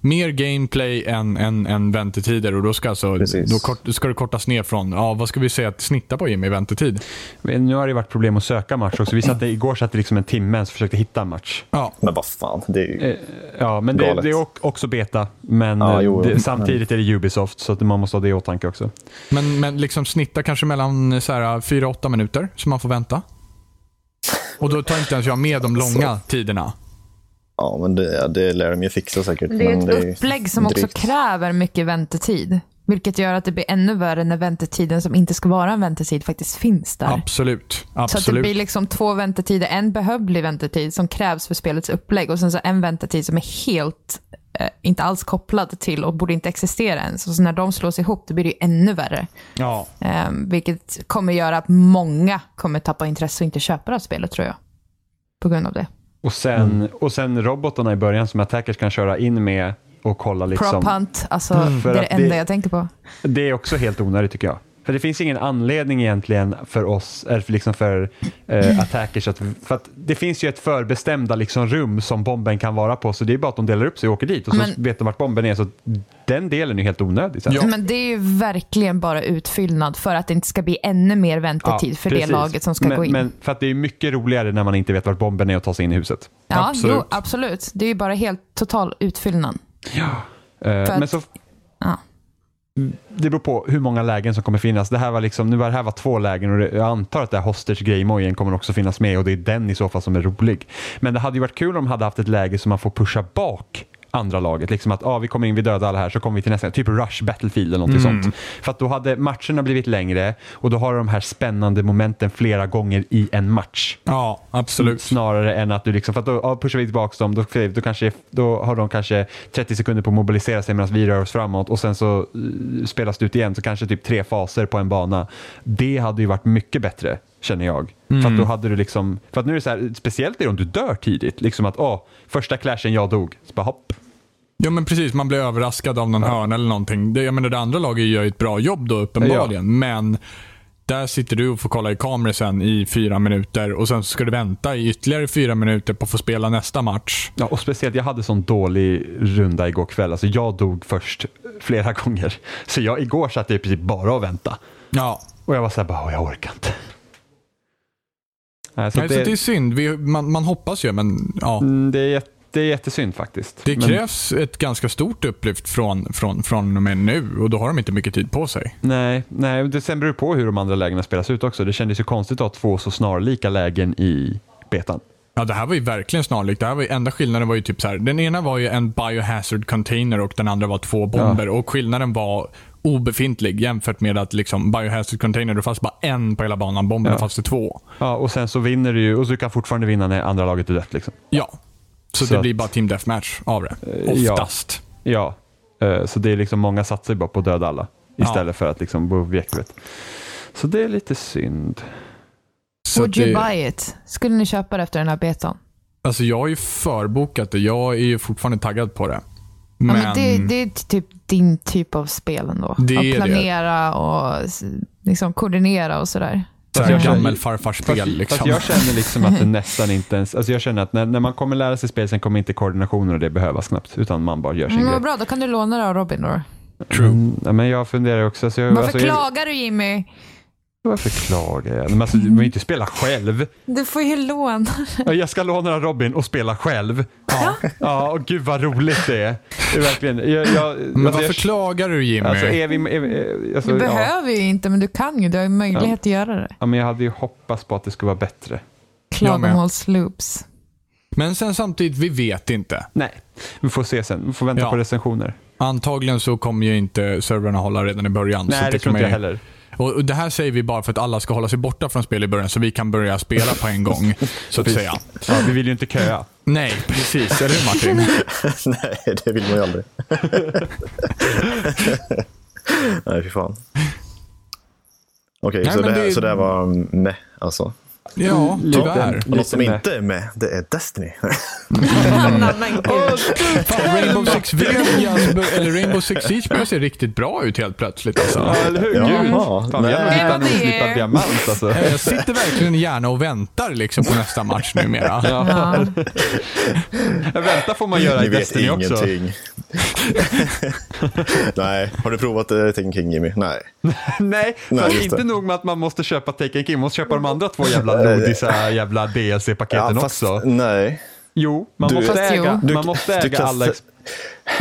mer gameplay än, än, än väntetider. Och då ska, alltså,
Precis.
då kort, ska det kortas ner från, ja, vad ska vi säga att snitta på Jimmy i väntetid?
Men Nu har det varit problem att söka match också. Vi satte, igår satt det liksom en timme ens och försökte hitta en match.
Ja,
Men vad fan, det är ju...
Eh, Ja, men det,
Galet.
det är ock- också beta. Men
Ja,
eh,
jo, Mm. jo.
det, samtidigt är det Ubisoft, så att man måste ha det i åtanke också.
men, men liksom snitta kanske mellan så här, 4-8 minuter som man får vänta. Och då tar inte ens jag med de långa tiderna.
Ja, men det, ja, det lär de ju fixa säkert.
Det är
men
ett
ju
upplägg som också
drygt.
kräver mycket väntetid. Vilket gör att det blir ännu värre när väntetiden som inte ska vara en väntetid faktiskt finns där.
Absolut.
Så att det
Absolut.
blir liksom två väntetider, en behövlig väntetid som krävs för spelets upplägg och sen så en väntetid som är helt, eh, inte alls kopplad till och borde inte existera ens. Och så när de slås ihop då blir det ju ännu värre.
Ja.
Eh, vilket kommer göra att många kommer tappa intresse och inte köpa det här spelet tror jag. På grund av det.
Och sen,
Mm.
och sen robotarna i början som attackers kan köra in med och kolla liksom.
Prop hunt, alltså det
Mm.
För
är det
att det-
enda jag tänker på.
Det är också helt onödigt tycker jag. För det finns ingen anledning egentligen för oss, eller för, liksom för
Mm.
eh, attackers, att, för att det finns ju ett förbestämda liksom, rum som bomben kan vara på, så det är bara att de delar upp sig och åker dit och så
Men-
vet de vart bomben är, så den delen är ju helt onödig. sen.
Ja.
Men det är ju verkligen bara utfyllnad för att det inte ska bli ännu mer väntetid för det
precis.
laget som ska
men,
gå in.
Men för att det är mycket roligare när man inte vet vart bomben är och ta sig in i huset.
ja,
absolut.
absolut. Jo, absolut. Det är ju bara helt total utfyllnad.
Eh,
att-
men så,
Ja.
det beror på hur många lägen som kommer finnas. Det här var, liksom, nu var, det här var två lägen och det, jag antar att det här hostage grejemojen kommer också finnas med och det är den i så fall som är rolig. Men det hade ju varit kul om de hade haft ett läge som man får pusha bak andra laget. Liksom att ah, vi kommer in, vi dödar alla här, så kommer vi till nästa. Typ Rush Battlefield eller någonting sånt. För att då hade matcherna blivit längre och då har de här spännande momenten flera gånger i en match.
Ja,
Mm.
absolut.
Snarare än att du liksom, för att då ja, pushar vi tillbaka dem, då, då, kanske, då har de kanske 30 sekunder på att mobilisera sig medan vi rör oss framåt och sen så eh, spelas det ut igen, så kanske typ tre faser på en bana. Det hade ju varit mycket bättre, känner jag. För att då hade du liksom, för att nu är det så här, speciellt är det om du dör tidigt, liksom att åh, första clashen jag dog, så bara hopp.
Ja men precis, man blir överraskad av någon hörna eller någonting. Det, jag menar det andra laget gör ju ett bra jobb då uppenbarligen.
Ja.
Men där sitter du och får kolla i kameror sen i fyra minuter och sen ska du vänta i ytterligare fyra minuter på att få spela nästa match.
Ja, och speciellt, jag hade sån dålig runda igår kväll, alltså jag dog först flera gånger. Så jag, igår satt jag i princip bara och väntade.
Ja.
Och jag var så här, bara, "Åh, jag orkar inte. Nej, så
Nej, så det är synd. Vi, man, man hoppas ju men ja.
Mm, det, är, jätte- det är jättesynd faktiskt.
Det
Men-
krävs ett ganska stort upplyft från, från, från och med nu och då har de inte mycket tid på sig.
nej, nej, det sen beror det på hur de andra lägena spelas ut också. Det kändes ju konstigt att ha två så snarlika lägen i betan.
Ja, det här var ju verkligen snarlikt. Det här var ju, enda skillnaden var ju typ så här. Den ena var ju en biohazard container och den andra var två bomber. Och skillnaden var obefintlig jämfört med att liksom biohazard container, då fanns bara en på hela banan. Bomberna
Ja.
fanns det två.
Ja, och sen så vinner du ju och så kan fortfarande vinna när andra laget är dött. Liksom.
Ja. Så,
Så
det
att-
blir bara team deathmatch av det.
Eh, ja.
Oftast.
Ja, eh, så det är liksom många satsar ju bara på att döda alla istället för att liksom bo objektivet. Så det är lite synd.
Så
Would
att
you
det-
buy it? Skulle ni köpa det efter den här betan?
Alltså jag har ju förbokat det. Jag är ju fortfarande taggad på det.
Ja,
Men,
men det, det är typ din typ av spel ändå.
Det är det.
att planera och s- liksom koordinera och sådär.
så
Fast
här,
jag-
gammelfarfarspel liksom.
Fast jag känner liksom att det nästan inte ens, alltså jag känner att när, när man kommer lära sig spel sen kommer inte koordinationen och det behövas knappt, utan man bara gör sin
Mm,
grej. Mm,
vad bra, då kan du låna det av Robin då.
True.
Ja, men jag funderar också. Alltså, jag,
Varför
alltså, jag,
klagar du Jimmy?
varför klagar jag? Men alltså,
Mm.
du behöver inte spela själv.
Du får ju låna.
Ja, Jag ska låna Robin och spela själv. Ja, ja och gud vad roligt det är. Det är Verkligen. Jag, jag,
Men
alltså,
varför
jag,
klagar du Jimmy?
alltså, är vi, är vi, alltså,
Du
ja.
behöver ju inte, men du kan ju. Du har ju möjlighet att göra det.
ja, men jag hade ju hoppats på att det skulle vara bättre.
Jag med.
Klagomålsloops.
Men sen samtidigt, vi vet inte.
Nej, vi får se sen. Vi får vänta
Ja.
på recensioner.
Antagligen så kommer ju inte servrarna hålla redan i början. så
Nej, det tror
kommer
inte jag heller.
Och och det här säger vi bara för att alla ska hålla sig borta från spel i början så vi kan börja spela på en gång. så att säga.
Ja, vi vill ju inte köa.
Nej, precis. Eller hur Martin?
Nej, det vill man ju aldrig. Nej, fy fan. Okej,
Nej,
så,
men
det här-
det-
så det här var med alltså.
Mm,
Ja, tyvärr.
Och något som
Lite meh.
inte är med, det är Destiny.
Fan, Rainbow Six Vegas, eller Rainbow Six Siege börjar se riktigt bra ut helt plötsligt. Alltså.
Ja, eller hur?
Jaha.
Gud. Fan, vi har nog
Nej.
Ja,
hittat en
det är-
oslippad diamant alltså.
Eh, Jag sitter verkligen gärna och väntar liksom på nästa match numera.
Ja.
Vänta får man göra
Ni
i
vet
Destiny också.
ingenting. Nej, har du provat uh, Taken King Jimmy? Nej.
Nej,
Nej,
fast
just
inte
det.
nog med att man måste köpa Taken King, man måste köpa de andra två jävla lodisar jävla DLC-paketen
fast,
också.
Nej.
Jo, man
Du-
måste
Fast
äga,
jo.
Du-
man måste
du
äga
kan
alla
se-
ex-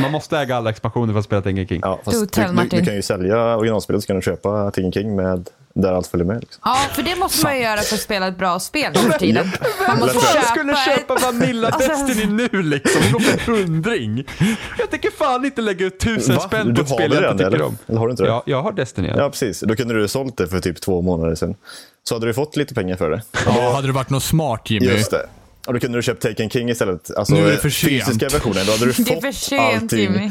man måste äga alla expansioner för att spela Taken King.
Ja, fast
tell,
du, du,
Martin.
du kan ju sälja originalspelet så kan du köpa Taken King med där allt följer med. Liksom.
ja, för det måste man ju göra för att spela ett bra spel nu för tiden. Man måste
Fan,
köpa
jag skulle köpa
ett...
Vanilla
Alltså-
Destiny nu liksom, det går för en hundring. Jag tänker fan inte lägga ut tusen
Va?
spänn på
Du
ett
har
spel
det
jag inte
redan,
tycker
eller?
om.
Eller har du inte det?
Ja, jag har Destiny. Ja.
Ja, precis. Då kunde du ha sålt det för typ två månader sedan. Så hade du fått lite pengar för det.
Ja, hade det varit något smart Jimmy?
Just det. Och då kunde du köpt Taken King istället. Alltså,
Nu är det för sent.
Fysiska versionen. Då hade du
Det är
fått
för sent
allting för
Jimmy.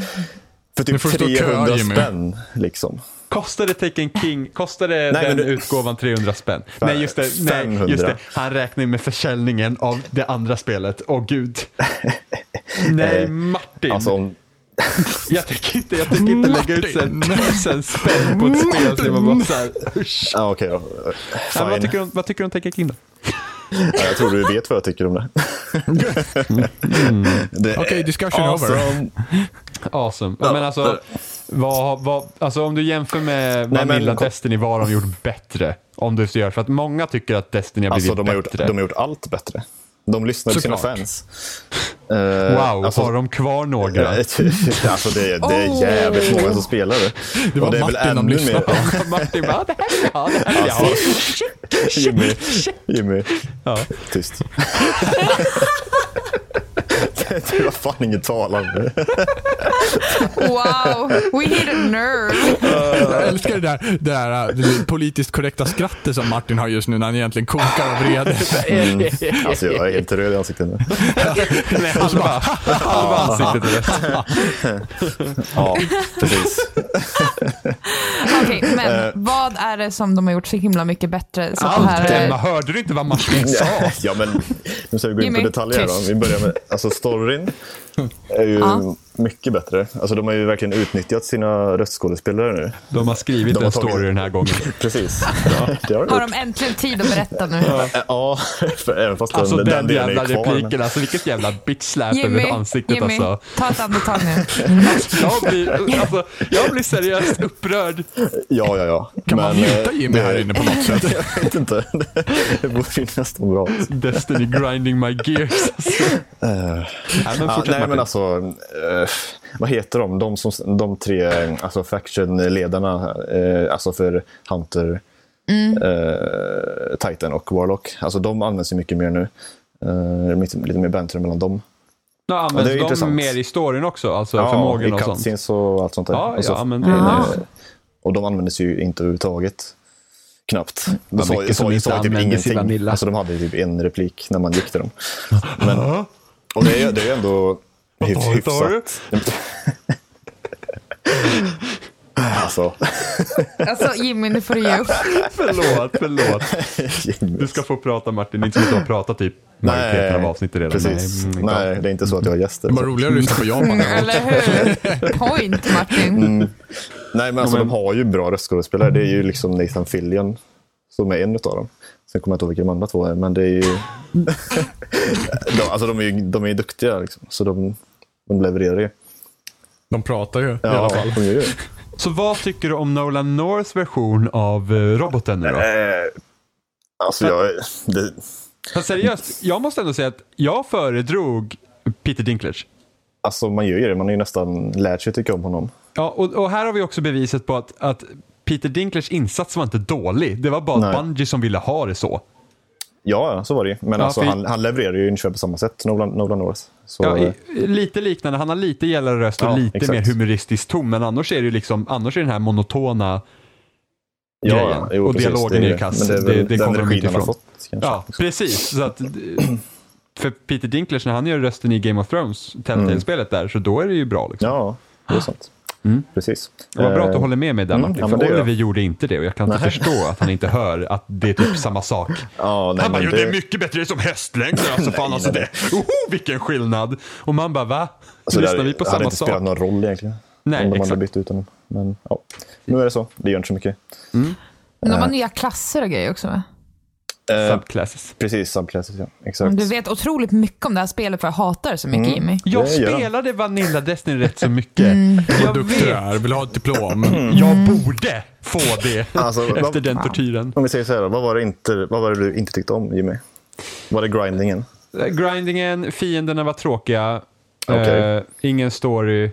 Nu
typ
får du stå och köa,
300
Jimmy.
spänn. Liksom.
Kostade Taken King, kostade
Nej, men
den
du-
utgåvan 300 spänn? Nej just, det, nej, just
500.
det. Han räknar ju med försäljningen av det andra spelet. Åh gud. Nej,
Eh,
Martin.
Alltså, om-
jag tänker inte, jag tänker inte lägga ut så
Martin.
här tusen spänn på ett spel. Så man bara så här, usch.
ja, okej då.
Nej, men vad,
Fine.
tycker du, om- vad tycker du om Taken King då?
Ja, jag tror du vet vad jag tycker om det. det är
Mm. Okej, discussion over.
awesome.
Awesome. Ja, men alltså, vad, vad, alltså, om du jämför med
Nej, men-
Vanilla Destiny, vad har de gjort bättre? Om du gör för att många tycker att Destiny har blivit
Alltså, de, har gjort,
bättre.
de har gjort allt bättre. De lyssnar på sina
Såklart.
fans. Eh,
Wow, har de kvar några?
alltså, det, är- det är jävligt många som spelar det.
Det var
Och är väl
Martin de
ännu
lyssnade
mer-
på.
Martin bara, det här vill jag ha, det här vill jag ha.
Jimmy, Jimmy.
Ja.
Tyst. det var fan inget talande.
Wow, we hit a nerve.
Jag älskar det där, det där eh, politiskt korrekta skrattet som Martin har just nu när han egentligen kokar av vrede.
Mm. Alltså, jag är helt röd i ansiktet nu.
Nej, halva, halva ansiktet är rätt.
Ja, precis.
Okej, men vad är det som de har gjort så himla mycket bättre? Så att det
Eh. Allt,
här
Emma,
är...
hörde du inte vad Martin sa?
Ja, men nu ska vi gå in på
Jimmy,
detaljer då.
tyst.
Vi börjar med, alltså storyn är ju
Ja.
mycket bättre. Alltså de har ju verkligen utnyttjat sina röstskådespelare nu.
De har skrivit
De har
en
tagit-
story den här gången.
Precis. Det har de
Har
gjort.
de äntligen tid att berätta nu?
Ja, för även fast
Alltså
den,
den,
den delen
jävla
är ju kvar.
repliken, alltså vilket jävla bitch slap över ansiktet
Jimmy,
alltså.
ta ett andetag nu.
Jag blir, alltså. Jag blir seriöst upprörd.
Ja, ja, ja.
Kan man
Men, eh,
muta Jimmy
det-
här inne på något sätt?
Jag vet inte. Det borde ju nästan bra.
Destiny grinding my gears. Alltså. Nej, men
Ja,
fortsätt
nej, men
Martin.
alltså, eh, vad heter de? De, som, de tre eh, alltså faction-ledarna eh, alltså för Hunter,
Mm.
eh, Titan och Warlock. Alltså, de används ju mycket mer nu. Eh, lite, lite mer banter mellan dem.
Nu
det är
används de
intressant.
mer i storyn också, alltså
i
förmågorna och sånt.
cutscenes och allt sånt där.
Ja,
och, så,
ja, men det är
eh,
nice.
och de användes ju inte överhuvudtaget. Knappt. De sa,
mycket
sa,
som
sa,
inte
sa typ
användes i
ingenting.
Vanilla.
Alltså, de hade ju typ en replik när man gick till dem. Men, och det är ju det är ju ändå hyf-
dåligt har du?
hyfsat. Alltså,
Alltså Jimmy, nu får du ge upp.
Förlåt, förlåt. Du ska få prata Martin, inte så att du har pratat typ majoriteten av avsnittet redan.
Precis.
Nej,
Nej,
mm,
det är inte så att jag har gäster.
Vad
Så.
roligare att lyssna på Japan.
Eller hur? Point
Mm.
Martin.
Nej, men alltså,
Ja, men- Mm.
de har ju bra röstskådespelare. Det är ju liksom Nathan Fillion som är en av dem. Sen kommer jag inte ihåg vilka de andra två är, men det är ju... de, alltså, de är ju de är ju duktiga, liksom. så de, de levererar ju.
De pratar ju i alla
Ja,
fall.
de gör ju det.
Så vad tycker du om Nolan Norths version av eh, roboten nu då?
Eh, alltså, jag... Det,
Fast seriöst, jag måste ändå säga att jag föredrog Peter Dinklage.
alltså, man gör ju det. Man har ju nästan lärt sig tycka om honom.
Ja, och, och här har vi också beviset på att, att Peter Dinklage insats var inte dålig. Det var bara
Nej.
Bungie som ville ha det så.
Ja, ja, så var det ju. Men
Ja,
alltså,
för-
han, han levererar ju ungefär på samma sätt, Nolan, Nolan North. Så,
Ja,
eh,
i, lite liknande, han har lite gällare röst och
Ja,
lite
exakt.
mer humoristisk ton. Men annars är det ju liksom, annars är den här monotona grejen.
jo,
och
precis,
dialogen
det
är ju
det.
kass.
Men det är
Det-
väl
det
den
kommer de
regin
inte
han har
ifrån.
fått. Kanske.
Ja, precis. Så att, för Peter Dinklage, när han gör rösten i Game of Thrones, Telltale-spelet där, så då är det ju bra. Liksom.
Mm. Ja, det är sant. Precis.
Mm. Det var bra att du
Eh,
håller med mig där
mm,
Martin,
ja,
för
men det gör jag.
Oliver gjorde inte det och jag kan inte förstå att han inte hör att det är typ samma sak.
Ja, nej,
han bara,
men
jo det är
det-
mycket bättre, det är som hästlängder alltså. fan,
Nej,
alltså
nej,
det. Oho, vilken skillnad! Och man bara, va?
Alltså,
Lyssnar
där-
vi på
hade
samma
inte
sak?
spelat någon roll egentligen.
Nej,
om de hade
exakt.
bytt ut honom. Men ja, nu är det så. Det gör inte så mycket.
Men de har nya klasser och grejer också. va?
Eh,
Subclasses.
precis, subclasses ja. Exakt.
Du vet otroligt mycket om det här spelet för jag hatar det så
Mm.
mycket Jimmy.
Jag
det gör han.
spelade Vanilla Destiny rätt så mycket. Mm. Jag
Duktig du
vet,
är, vill ha ett diplom.
jag borde få det
Alltså,
efter
vad-
den tortyren.
Om vi säger så här, då, vad var, det inte, vad var det du inte tyckte om Jimmy? Var det grindingen?
Grindingen, fienderna var tråkiga,
Okej.
eh, ingen story.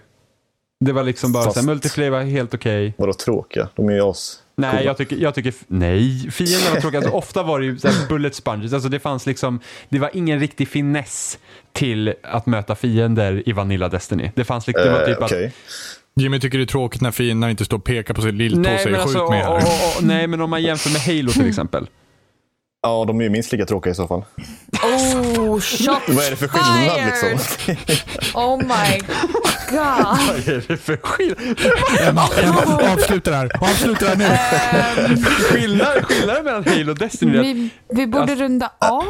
Det var liksom bara
Fast-
såhär, multiplayer var helt okej.
Vadå tråkiga? De är ju oss.
Nej,
coola.
jag tycker, jag tycker, nej, fienden var tråkig. Alltså, ofta var det ju så här bullet sponges, alltså det fanns liksom, det var ingen riktig finess till att möta fiender i Vanilla Destiny. Det fanns liksom, det var
Eh,
typ
okej.
att,
Jimmy tycker det är tråkigt när fienden inte står och pekar på sin lilltå och
nej men
säger
alltså,
skjut
och,
mig här.
och, och, nej men om man jämför med Halo till exempel.
Ja, de är ju minst lika tråkiga i så fall.
Oh, shots
Vad är det för skillnad
fired!
liksom?
Oh my god.
Vad är det för skillnad?
Avsluta det här. Avsluta det här nu.
Skillnaden skillnad mellan Halo och Destiny är
Vi, vi borde runda av.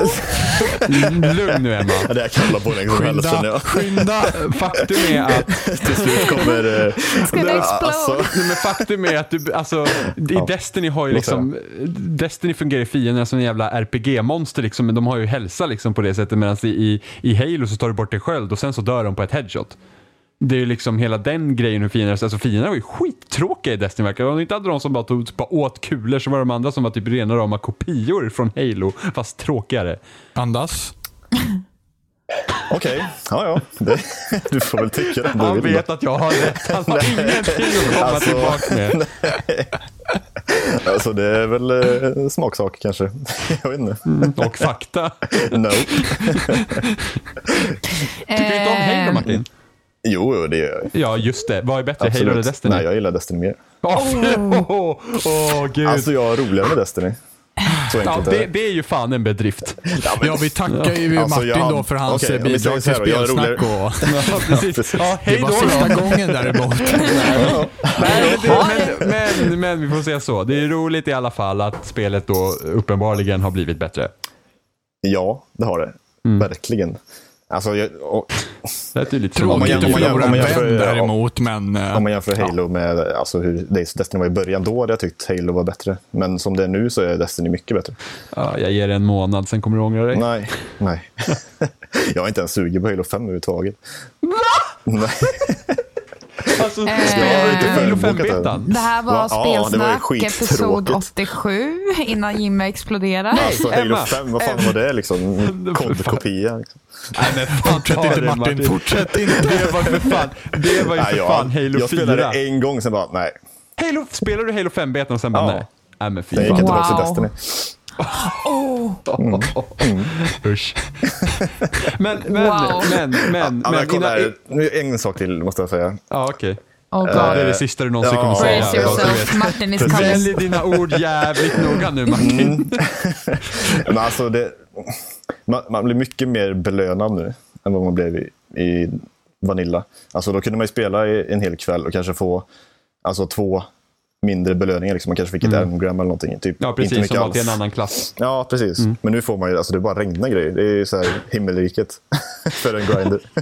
att, lugn nu Emma.
Ja, det här kan hålla på länge som helst. känner
Skynda.
jag.
Skynda.
Faktum är att
Till slut kommer... eh,
Ska det explode?
Nej, men faktum är att du, alltså, i Destiny har ju liksom, Destiny fungerar ju fienderna som en jävla RPG-monster liksom, men de har ju hälsa liksom på det sättet medan i, i, i Halo så tar du bort en sköld och sen så dör de på ett headshot. Det är ju liksom hela den grejen hur fienderna, alltså fienderna var ju skittråkiga i Destiny verkar det. Om du inte hade de som bara, tog, bara åt kulor så var de andra som var typ rena rama kopior från Halo, fast tråkigare.
Andas.
Okej, ja ja. Det, du får väl tycka det om du
Han
vill.
vet att jag har rätt, han har ingenting att komma
Alltså-
tillbaka med.
Alltså, det är väl eh, smaksak kanske. Jag vet inte.
Och fakta.
No.
Tycker du inte om Halo
Ehm,
Martin?
Jo, jo, det gör jag.
Ja, just det. Vad är bättre,
Absolut.
Halo eller Destiny?
Nej, jag gillar Destiny mer.
Åh, oh, oh, gud.
Alltså, jag har roligare med Destiny. Så
ja,
enkelt är
det, det är ju fan en bedrift.
Ja, vi tackar ju
Alltså,
Martin
jag-
då för hans
okej,
eh,
om vi säger
bidrag till
så här då, jag är
spelsnack. Och...
Ja, precis. Ja, hej
Det
då.
var
då.
sista gången däremot.
Nej, men, det, men, men, men vi får säga så. Det är roligt i alla fall att spelet då uppenbarligen har blivit bättre.
Ja, det har det.
Mm.
Verkligen. Alltså, jag, och,
Det är ju lite
Om man
Tråkigt
jämför-
att
om man
förlora en
jämför-
vän
ja.
däremot, men... eh,
om man jämför Halo med alltså, hur Destiny var i början, då hade jag tyckt Halo var bättre. Men som det är nu så är Destiny mycket bättre.
Ja, jag ger det en månad, sen kommer du ångra dig.
Nej, nej. jag är inte ens sugen på Halo 5 överhuvudtaget. Nej.
Alltså,
Eh,
Jag har
spelar
inte
du Halo
förbokat
5-betan?
Det här var
Va? Ja, det var ju
Spelsnack,
skittråkigt.
episod 87, innan Jimmy exploderar.
Alltså, Halo
Emma.
5, vad fan var det liksom? Kodkopia. Liksom.
Nej, men fan,
Fortsätt
ta
inte
det,
Martin, fortsätt inte.
Det var ju för fan, det var ju
Nej,
för
jag,
fan Halo
jag
4.
spelade en gång, sen bara nej.
Halo, spelar du Halo 5-betan och sen bara
Ja.
nej? Nej men fy
Jag gick
fan.
inte tillbaka till Destiny.
Wow.
Usch. Men, men,
Wow.
men, men,
Ja, men kolla
men. Innan,
här, nu är en sak till måste jag säga.
ja, okej.
Oh
Det
god.
är det sista du någonsin
Ja.
kommer säga.
Brace
ja,
yourself, Martin is
Precis.
coming.
Välj dina ord jävligt noga nu Martin.
Mm. Men alltså, det, man, man blir mycket mer belönad nu än vad man blev i, i Vanilla. Alltså, då kunde man ju spela i, en hel kväll och kanske få alltså, två mindre belöningar. Liksom. Man kanske fick ett engram eller någonting. Typ,
Mm. Ja,
inte
precis.
mycket
Som var till en
alls.
annan Mm. klass.
Ja, precis. Men nu får man ju, alltså det bara regna grejer. Det är ju så här himmelriket för en grinder.
Ja,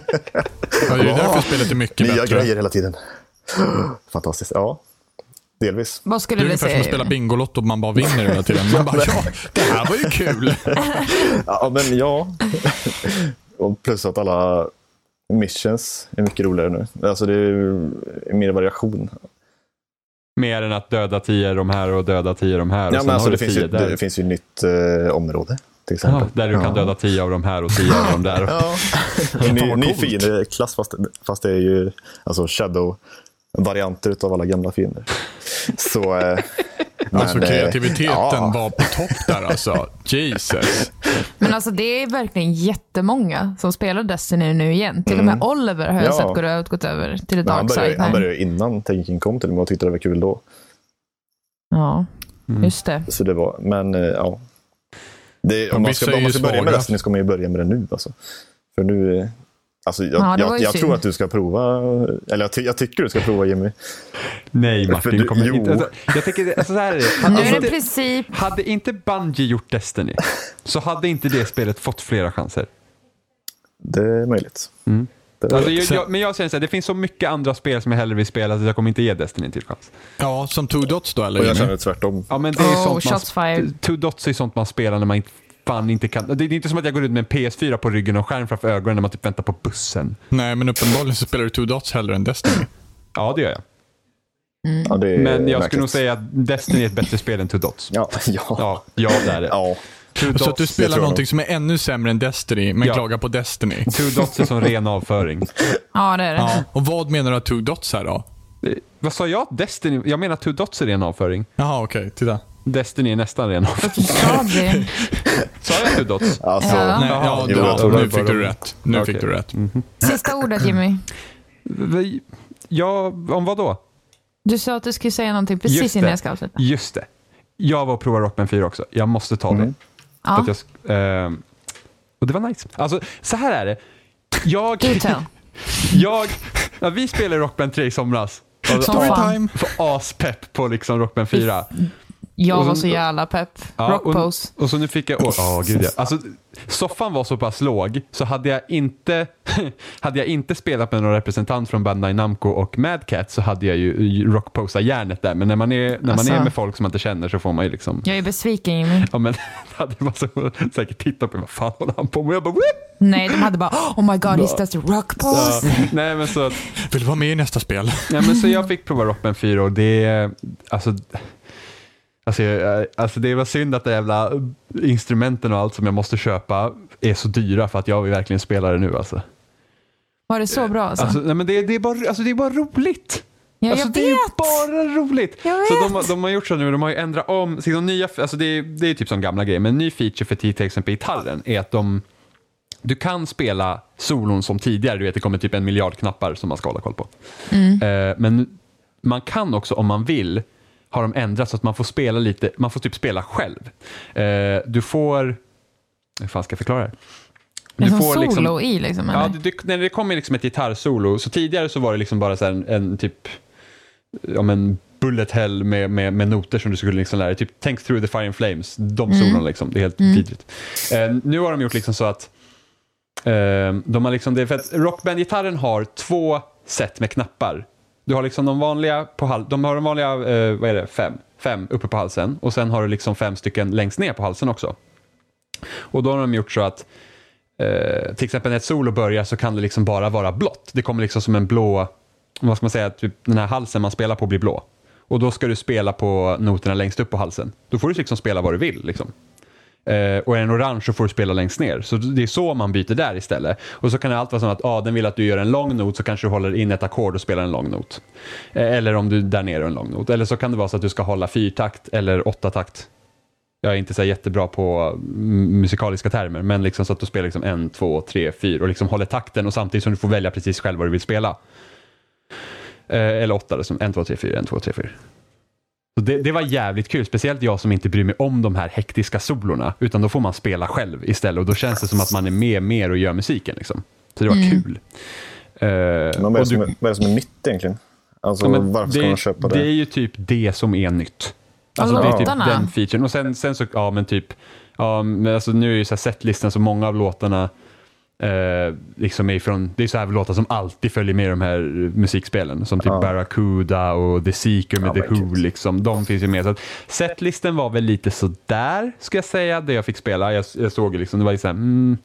det är därför spelet är mycket
Nya
bättre.
grejer hela tiden. Fantastiskt. Ja, delvis.
Vad
Det
skulle
är
du
ungefär som att
säga?
spela
Jimmy?
Bingolotto, man bara vinner hela tiden. Man bara, ja, det här var ju kul.
Ja, men ja. Och plus att alla missions är mycket roligare nu. Alltså det är ju mer variation.
Mer än att döda tio de här och döda tio de här. Och
Ja,
sen
men alltså,
har
det,
du
finns
tio
ju,
där.
det finns ju nytt eh, område till exempel.
Ja, där du kan döda tio av de här och tio av de där.
Ja. En
Fan,
ny,
vad
ny
coolt.
fiendeklass, fast, fast det är ju alltså shadow-varianter av alla gamla fiender. Så... Eh,
Alltså
men, eh,
kreativiteten
ja.
var på topp där alltså. Jesus.
Men alltså det är verkligen jättemånga som spelar Destiny nu igen. Till och med Oliver har jag
Mm. Ja.
sett gå över, gått över till det
Men han
dark
började,
side. här.
han började ju innan Taking kom till mig och tyckte det var kul då.
Ja,
Mm.
just det.
Så det var, men eh, ja. Det, om,
Men
man ska,
vissa är
om man
ju
ska börja med
svaga.
resten så ska man ju börja med det nu. Alltså. För nu, eh, alltså, jag,
Ja, det var
jag,
ju
jag
synd.
tror att du ska prova, eller jag, ty, jag tycker du ska prova Jimmy.
Nej,
För
Martin.
du-
kommer
jo.
inte, alltså, jag tänker, alltså, så här är det.
Nu
Hade,
är det i
inte,
princip...
hade inte Bungie gjort Destiny så hade inte det spelet fått flera chanser.
Det är möjligt. Det är
Alltså,
möjligt.
jag, jag, men jag säger så här, det finns så mycket andra spel som jag hellre vill spela så jag kommer inte ge Destiny till chans.
Ja, som Two Dots då eller?
och jag
Jimmy?
känner tvärtom.
Ja, men det är ju
Oh,
sånt
shots fired.
man, two dots är sånt man spelar när man inte, fan inte kan. Det är inte som att jag går ut med en PS4 på ryggen och skärm framför ögonen när man typ väntar på bussen.
Nej, men uppenbarligen så spelar du Two Dots hellre än Destiny.
Ja, det gör jag.
Ja, det är
Men jag
märkligt.
skulle nog säga att Destiny är ett bättre spel än two dots.
Ja, ja.
Ja, ja det är det.
ja.
Two,
Så att du
dots,
spelar
jag
någonting som är ännu sämre än Destiny, men
Ja.
klagar på Destiny.
two dots är som ren avföring.
Ja, det är det.
Ja. Och vad menar du att Two Dots här då?
Eh, Vad sa jag? Destiny? Jag menar two dots är ren avföring.
Jaha, okej. Titta.
Destiny är nästan ren avföring.
Ja, det.
Sa jag two dots?
Alltså,
Ja.
Nej,
Jaha.
ja,
Jo, jag
ja,
tror
nu
det
fick
var
du
de-
rätt. Nu
Okej.
fick du rätt.
Mm.
Sista ordet Jimmy.
Vi- Ja, om vad då?
Du sa att du skulle säga någonting precis
Just
innan
det.
jag ska avsluta.
Just det. Jag var och provade Rockman 4 också. Jag måste ta
Mm.
det. För
Ja,
att jag, sk- ehm, och det var nice. Alltså, så här är det. Jag,
do tell.
jag, när vi spelade Rockband 3 i somras. Alltså,
Storytime.
För aspepp på liksom Rockband 4.
Jag
Och
var
sen-
så jävla pepp.
Ja,
Rock pose.
Och, och så nu fick jag... åh, Ja, gud ja. Alltså, soffan var så pass låg så hade jag inte, hade jag inte spelat med någon representant från Bandai Namco och Mad Cat så hade jag ju rockposa järnet där. Men när man är, när man
Alltså.
är med folk som man inte känner så får man ju liksom...
Jag är besviken Jimmy.
Ja, men det hade man så, säkert tittat på mig. Vad fan håller han på med? Jag bara... "Whoop!"
Nej, de hade bara oh my god, he's just a rock
Ja,
pose.
nej, men så,
Vill du vara med i nästa spel?
nej, men så jag fick prova Rockman 4 och det... Alltså, alltså, jag- alltså det var synd att de jävla instrumenten och allt som jag måste köpa är så dyra för att jag vill verkligen spela det nu alltså.
Var det så bra alltså?
alltså nej, men det, det, är bara, alltså det är bara roligt.
Ja, jag
alltså, det är ju
vet.
bara roligt.
Jag
Så de,
vet.
har- de har gjort så nu, de har ju ändrat om, så de nya, alltså det, är- det är typ som gamla grejer, men en ny feature för till exempel gitarren är att de, du kan spela solon som tidigare, du vet det kommer typ en miljard knappar som man ska hålla koll på.
Mm.
Eh, men man kan också om man vill, har de ändrat så att man får spela lite, man får typ spela själv. Eh, du får, hur fan ska jag förklara det här?
det är som solo i liksom. Eller?
Ja, det, det, när det kommer liksom ett gitarrsolo, så tidigare så var det liksom bara så här en, en typ, ja men bullet hell med, med, med noter som du skulle liksom lära dig. Typ Think through the fire and flames, de solon liksom. Det är helt vidrigt. Eh, nu har de gjort liksom så att, eh, de har liksom, det är för att rockbandgitarren har två set med knappar. Du har liksom de vanliga, på hal, de har de vanliga, eh, vad är det, fem? Fem uppe på halsen och sen har du liksom fem stycken längst ner på halsen också. Och då har de gjort så att eh, till exempel när ett solo börjar så kan det liksom bara vara blått. Det kommer liksom som en blå, vad ska man säga, typ den här halsen man spelar på blir blå. Och då ska du spela på noterna längst upp på halsen. Då får du liksom spela vad du vill. Liksom. Eh, och är den orange så får du spela längst ner. Så det är så man byter där istället. Och så kan det alltid vara så att ah, den vill att du gör en lång not så kanske du håller in ett ackord och spelar en lång not. Eh, eller om du där nere har en lång not. Eller så kan det vara så att du ska hålla fyrtakt eller åttatakt jag är inte så här jättebra på mm, musikaliska termer, men liksom så att du spelar liksom en, två, tre, fyra och liksom håller takten och samtidigt som du får välja precis själv vad du vill spela. Eh, eller åtta, liksom. en, två, tre, fyra, en, två, tre, fyra. Så det, det var jävligt kul, speciellt jag som inte bryr mig om de här hektiska solorna, utan då får man spela själv istället och då känns det som att man är med mer och gör musiken. Liksom. Så det var kul. Eh,
Men vad, är
och
det
du-
som, är- vad är det som är nytt egentligen? Alltså,
Ja, men
varför ska
det-
man köpa det?
Det är ju typ det som är nytt. Alltså,
Ja,
det är typ
låtarna.
den featuren. Och sen, sen så, ja men typ, ja, men alltså, nu är ju så här setlisten så många av låtarna Eh, liksom är ifrån, det är så här låtar som alltid följer med de här musikspelen. Som typ
Ja.
Barracuda och The Seeker med
Ja,
The
men
Who.
gud.
Liksom. De finns ju med. Så att setlisten var väl lite sådär, ska jag säga, det jag fick spela. Jag, jag såg ju liksom, det var ju såhär, mm,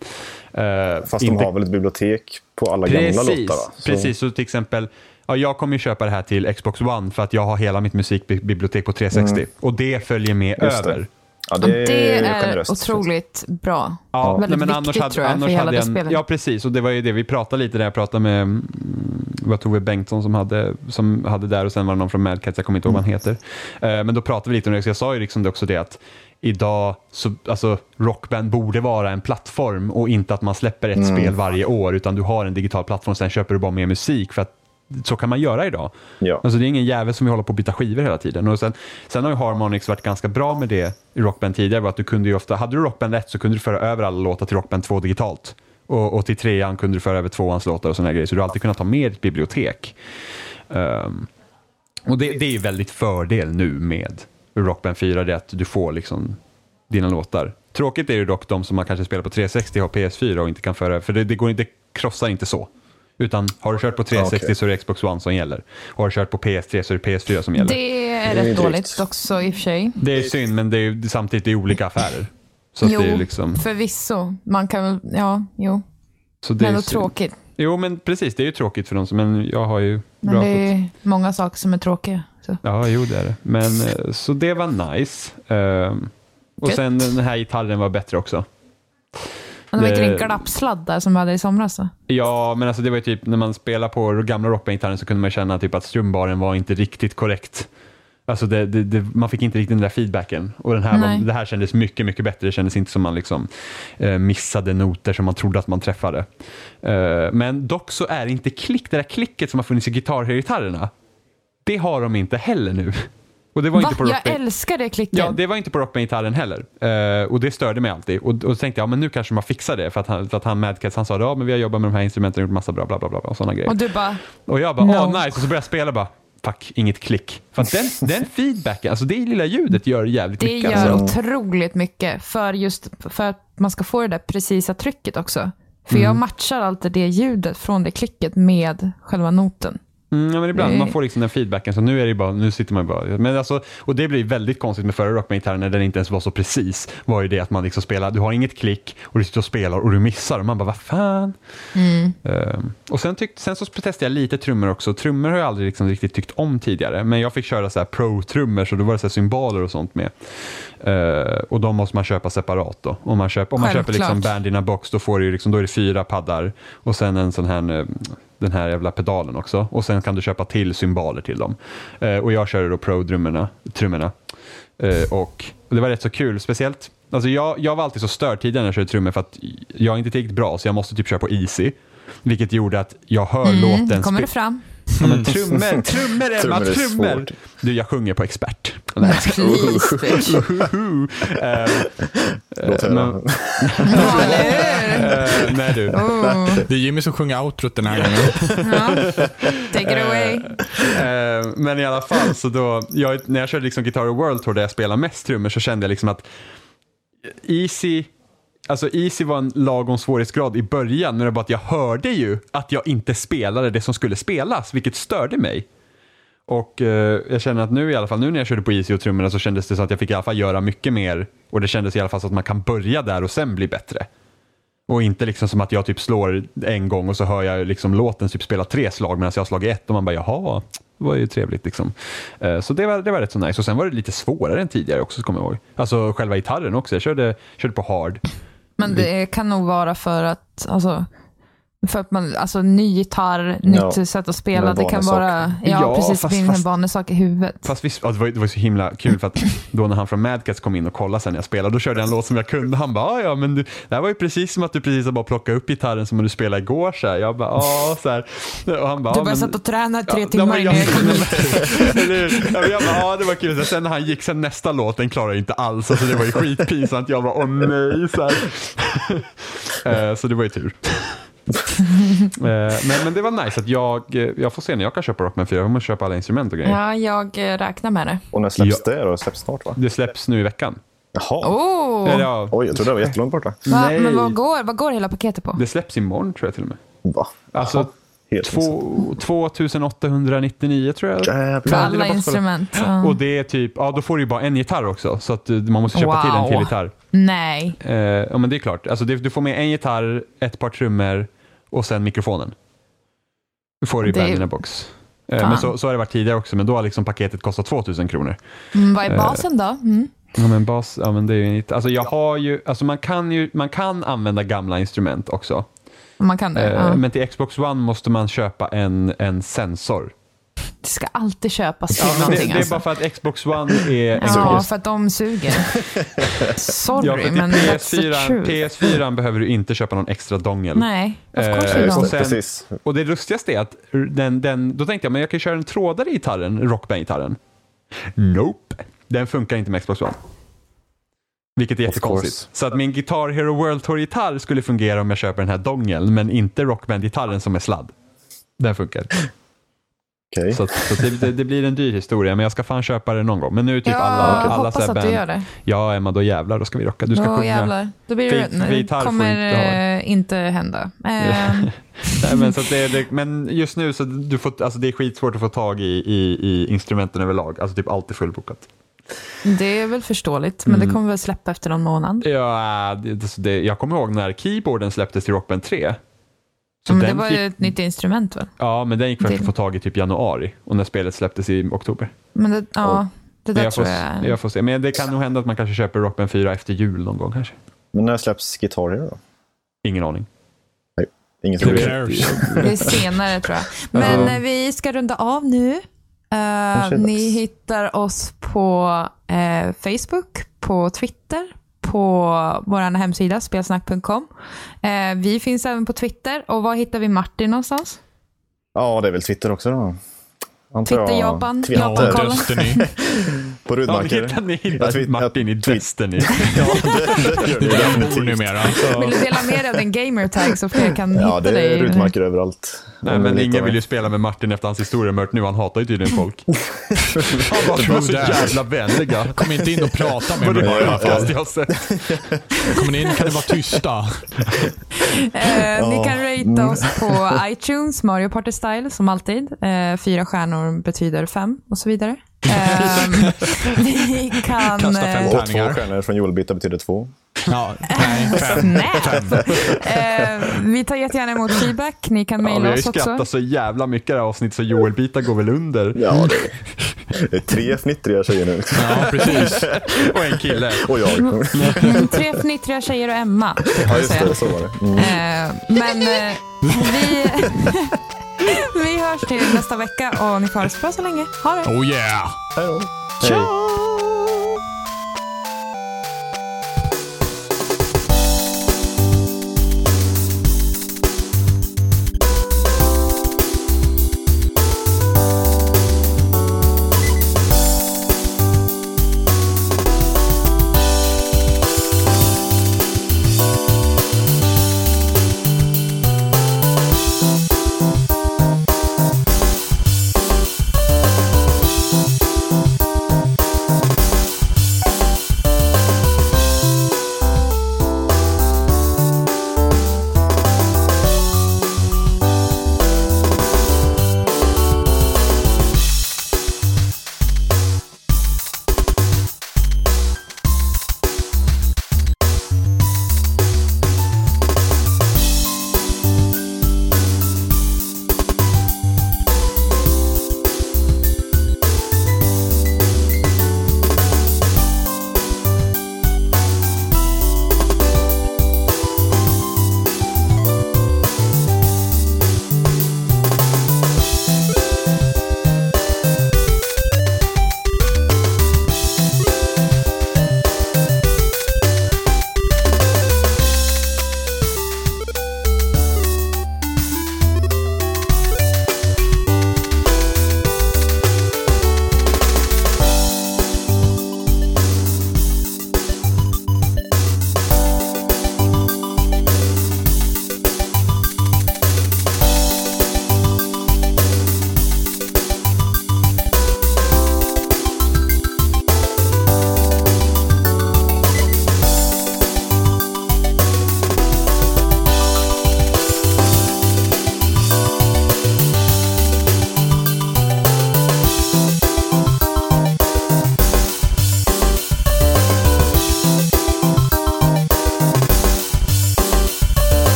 eh,
Fast
inte-
de har väl ett bibliotek på alla gamla
Precis,
låtar? alltså. Va? Så-
precis. Så till exempel, ja, jag kommer ju köpa det här till Xbox One för att jag har hela mitt musikbibliotek på 360 och det följer med
Mm. Just det.
över.
Ja,
Ja,
det,
Det,
är
är
generöst.
otroligt bra.
Ja, nej,
Väldigt
men
viktigt
annars hade-
tror jag
annars
för hela
hade
det
en-
spelet.
Ja, precis. Och det var ju det vi pratade lite där. Jag pratade med mm, det var Tove Bengtsson som hade, som hade där och sen var det någon från Mad Cats, jag kommer inte ihåg vad
Mm.
han heter. Eh, men då pratade vi lite om det, så jag sa ju liksom det också det att idag, så, alltså Rockband borde vara en plattform och inte att man släpper ett spel varje år utan du har en digital plattform sen köper du bara mer musik för att så kan man göra idag.
Ja.
Alltså det är ingen jävel som vill hålla på och byta skivor hela tiden. Och sen, sen har ju Harmonix varit ganska bra med det i Rockband tidigare. var Att du kunde ju ofta, hade du Rockband 1 så kunde du föra över alla låtar till Rockband 2 digitalt. Och, och till trean kunde du föra över tvåans låtar och sådana grejer. Så du har alltid kunnat ta med ditt bibliotek. Ehm, och det, det är ju väldigt fördel nu med Rockband 4, det är att du får liksom dina låtar. Tråkigt är ju dock de som man kanske spelar på 360 har PS4 och inte kan föra, för det, det, går, inte- det krossar inte så. Utan har du kört på 360
Okej.
så är det Xbox One som gäller. Och har du kört på PS3 så är det PS4 som gäller. Det,
Det är
Det är
rätt
drygt.
dåligt också i och för sig.
är synd, men det är ju samtidigt det är olika affärer. Så att
jo,
det är liksom...
förvisso. Man kan väl, ja, jo.
Så det är
Men då
ju synd.
tråkigt.
Jo, men precis, det är ju tråkigt för dem, som- men jag har ju
Men
bra
det är
fot-
ju många saker som är tråkiga. Så.
Ja, jo det är det. Men, eh, så det var nice. Ehm, och
Gött.
sen den här gitarren var bättre också.
Men det var inte
Det-
den glappsladd där som vi hade i somras då?
Ja, men alltså det var ju typ när man spelar på gamla rockbandgitarren så kunde man känna typ att strumbaren var inte riktigt korrekt. Alltså det, det, det, man fick inte riktigt den där feedbacken. Och den här, var,
Nej.
det här kändes mycket, mycket bättre. Det kändes inte som man liksom, eh, missade noter som man trodde att man träffade. Eh, men dock så är inte klick, det där klicket som har funnits i gitarrgitarrerna, det har de inte heller nu. Och det var inte på
jag
Rockband-
älskar det klicket.
Ja, det var inte på Rockman-gitarren heller. Eh, och det störde mig alltid. Och, och då tänkte jag, ja, men nu kanske de har fixat det. För att han, för att han Madcats, han sa, ja men vi har jobbat med de här instrumenten och gjort massa bra, bla, bla, bla, bla och sådana grejer.
Och du bara,
Och jag bara, åh
No.
nice. Och så började jag spela och bara, fuck, inget klick. För att den, den feedbacken, alltså det lilla ljudet gör jävligt
det
mycket.
gör
Alltså.
otroligt mycket för just för att man ska få det där precisa trycket också. För
Mm.
jag matchar alltid det ljudet från det klicket med själva noten.
Mm, ja, men ibland
Nej.
man får liksom den feedbacken. Så nu är det ju bara, nu sitter man ju bara... Men alltså, och det blir väldigt konstigt med förra Rockman-gitarren när den inte ens var så precis. var ju det att man liksom spelar, du har inget klick och du sitter och spelar och du missar. Och man bara, vad fan?
Mm.
Ehm, och sen, tyck, sen så testade jag lite trummor också. Trummor har jag aldrig liksom riktigt tyckt om tidigare. Men jag fick köra så här pro-trummor så då var det så här symboler och sånt med. Ehm, och de måste man köpa separat då. Om man köper, om man köper liksom
Självklart.
band in a box då, får du ju liksom, då är det fyra paddar och sen en sån här, eh, den här jävla pedalen också. Och sen kan du köpa till cymbaler till dem. Eh, och jag körde då pro-trummorna. trummorna. Eh, och, och det var rätt så kul, speciellt Alltså jag, jag var alltid så störd tidigare när jag körde trummor för att jag är inte tillräckligt bra så jag måste typ köra på easy. Vilket gjorde att jag hör låten...
Kommer
spe-
Mm, det fram?
Ja, men trummor, trummor Emma,
Trummor är
trummor!
svårt.
Du, jag sjunger på expert. Alltså,
Please, bitch.
Låt höra.
men-
Ja, eller hur?
Eh, nej du.
Oh,
Det är Jimmy som sjunger outrot den här gången.
ja. Take it away.
Eh, men i alla fall, så då, jag, när jag körde liksom Guitar Hero World Tour där jag spelade mest trummor så kände jag liksom att Easy, alltså Easy var en lagom svårighetsgrad i början men det var bara att jag hörde ju att jag inte spelade det som skulle spelas vilket störde mig. Och eh, jag känner att nu i alla fall, nu när jag körde på Easy och trummorna så kändes det som att jag fick i alla fall göra mycket mer och det kändes i alla fall så att man kan börja där och sen bli bättre. Och inte liksom som att jag typ slår en gång och så hör jag liksom låten typ spela tre slag medan jag har slagit ett och man bara jaha, det var ju trevligt liksom. Eh, Så det var, det var rätt så nice. Och sen var det lite svårare än tidigare också, kommer jag ihåg. Alltså själva gitarren också. Jag körde, körde på hard.
Men det kan nog vara för att, alltså, för att man, alltså ny gitarr, nytt sätt att spela. Det kan
vanesak.
vara, ja,
Ja,
precis,
fast-
fast, en
fast-
vanesak i huvudet.
Fast visst, ja, det, var, ju- det var ju så himla kul för att då när han från Mad Cats kom in och kollade sen när jag spelade, då körde jag en låt som jag kunde. Han bara, "Ah, ja men du, det här var ju precis som att du precis har bara plockat upp gitarren som du spelade igår. Så här. Jag bara, ja så här. Och han bara,
Du bara
"Ah, men-
satt och tränade tre
Ja,
timmar
nej, men
innan jag kom hit.
Eller hur? Ja, men jag bara, ja det var kul. Så Sen när han gick, sen nästa låt, den klarade jag inte alls. Alltså det var ju skitpinsamt. Jag bara, åh nej. Så, här. Eh, så det var ju tur. Eh, men, men det var nice att jag, eh, jag får se när jag kan köpa Rockman 4. Jag måste köpa alla instrument och grejer.
Ja, jag eh, räknar med det.
Och när släpps
Ja.
det då? Det släpps snart va?
Det släpps nu i veckan.
Jaha.
Oh.
Eller, ja,
Oj, jag trodde det var jättelångt borta.
Va,
nej.
men vad går, vad går hela paketet på?
Det släpps imorgon tror jag till och med.
Va?
Alltså,
Helt missat.
två- 2899 tror jag.
Jävlar.
För
Ja, det är
alla
bara att spela.
instrument? Ja.
Och det är typ, ja då får du ju bara en gitarr också. Så att eh, man måste köpa till en till
Wow.
gitarr.
Nej.
Eh, ja men det är klart. Alltså, det, du får med en gitarr, ett par trummor och sen mikrofonen. Du får du i
Det är-
Bandina Box. Eh,
Fan.
men så, så har det varit tidigare också, men då har liksom paketet kostat 2000 kronor.
Mm,
Eh.
vad är basen då? Mm.
Ja men bas, ja men det är ju en gitarr. Alltså jag har ju, alltså man kan ju, man kan använda gamla instrument också.
Om Man kan det.
Eh,
ja.
Men till Xbox One måste man köpa en, en sensor.
Det ska alltid köpas till
Ja, men det,
någonting.
det är
alltså.
bara för att Xbox One är en
Ja,
just-
för att de suger. Sorry,
Ja, för att i
men that's the
PS4,
truth.
PS4 behöver du inte köpa någon extra dongel.
Nej, of course
Eh,
you
Just
och
det,
don't.
sen-
precis.
Och det lustigaste är att den, den, då tänkte jag men jag kan ju köra en trådare i gitarren, Rockband-gitarren. Nope. Den funkar inte med Xbox One. Vilket är jättekonstigt.
course.
Så att min Guitar Hero World Tour-gitarr skulle fungera om jag köper den här dongeln, men inte Rockband-gitarren som är sladd. Den funkar.
Okej.
Så, att, så att det, det, det blir en dyr historia, men jag ska fan köpa det någon gång. Men nu är typ
ja,
alla,
jag
alla
hoppas
så här
att du
band-
gör det.
Ja, Emma, då jävlar, då ska vi rocka. Du ska
Åh,
sjunga.
jävlar. Då blir det,
Vit- vitarr
det
får
kommer
inte ha.
eh, inte hända. Ehm,
Nej, men, så att det, det, men just nu så du får, alltså det är skitsvårt att få tag i, i, i instrumenten överlag. Alltså typ allt är fullbokat.
det är väl förståeligt, men
Mm.
det kommer väl släppa efter någon månad.
Ja, det, alltså det, jag kommer ihåg när keyboarden släpptes till Rockband 3. Så
Men Mm, det
den
var ju
gick,
ett nytt instrument väl?
ja, men den gick först
det-
att få tag i typ januari och när spelet släpptes i oktober.
Men det, ja, det
Men
där
jag, får,
tror
s-
jag.
jag får se. Men det kan nog hända att man kanske köper Rockband 4 efter jul någon gång kanske.
Men när släpps gitarrer då?
Ingen aning.
Inget
Who
vet
roligt.
cares?
Det är senare tror jag. Men eh, vi ska runda av nu. Eh,
är det
ni
dags.
hittar oss på eh, Facebook, på Twitter, på vår hemsida spelsnack.com. Eh, vi finns även på Twitter. Och var hittar vi Martin någonstans?
Ja, det är väl Twitter också då. Antar jag.
Twitter-Japan.
Twitter.
Ja,
Japan-koll. Japankollen.
Destiny.
På
Ja,
Rudmarker.
hittar ni
Jag
hittar
tweet-
Martin i
jag tweet-
Destiny.
Det är där han bor numera.
Vill du dela med dig av din gamertag så fler kan
Ja,
hitta
det är
dig?
Rudmarker överallt.
Nej, men
Lite
ingen
av
vill
det.
ju spela med Martin efter hans historiemört nu. Han hatar ju tydligen folk. Han bara, de var så
True that.
jävla vänliga.
Kom inte in och prata med
Det
mig bara
var
i alla
det
fall.
sjukaste jag har sett.
Kommer ni in kan ni vara tysta.
Eh, ni
Ja. Mm.
kan ratea oss på iTunes, Mario Party Style som alltid. Eh, fyra stjärnor betyder fem och så vidare. Ehm, ni kan...
Kasta fem
eh,
Och
Tärningar.
två stjärnor från julbitar betyder två.
Ja, nej, fem.
Snällt! Eh, vi tar jättegärna emot feedback. Ni kan
Ja, vi
mejla
har ju
oss också.
skrattat så jävla mycket i det här avsnittet så Joel-bitar går väl under.
Ja, det är, det är tre fnittriga tjejer nu.
Ja, precis.
Och en kille.
Och jag.
Mm, tre fnittriga tjejer och Emma. skulle jag
Ja, just
säga.
det. Så var det. Mm.
Eh, men eh, vi, vi hörs till nästa vecka och ni får ha det så bra så länge. Ha det!
Oh yeah!
Hej då.
Hej.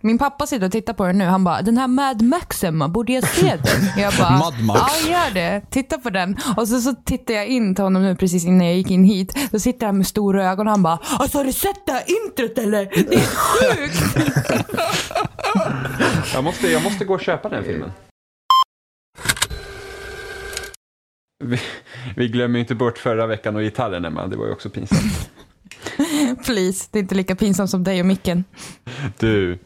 Min pappa sitter och tittar på den nu. Han bara, den här Mad Max Emma, borde jag se den? Jag bara,
Mad Max.
ja gör det. Titta på den. Och så, så tittar jag in till honom nu precis innan jag gick in hit. Då sitter han med stora ögon och han bara, alltså har du sett det här introt eller? Det är sjukt.
Jag måste, jag måste gå och köpa den filmen. Vi, vi glömmer ju inte bort förra veckan och gitarren Emma, det var ju också pinsamt.
Please, det är inte lika pinsamt som dig och micken.
Du,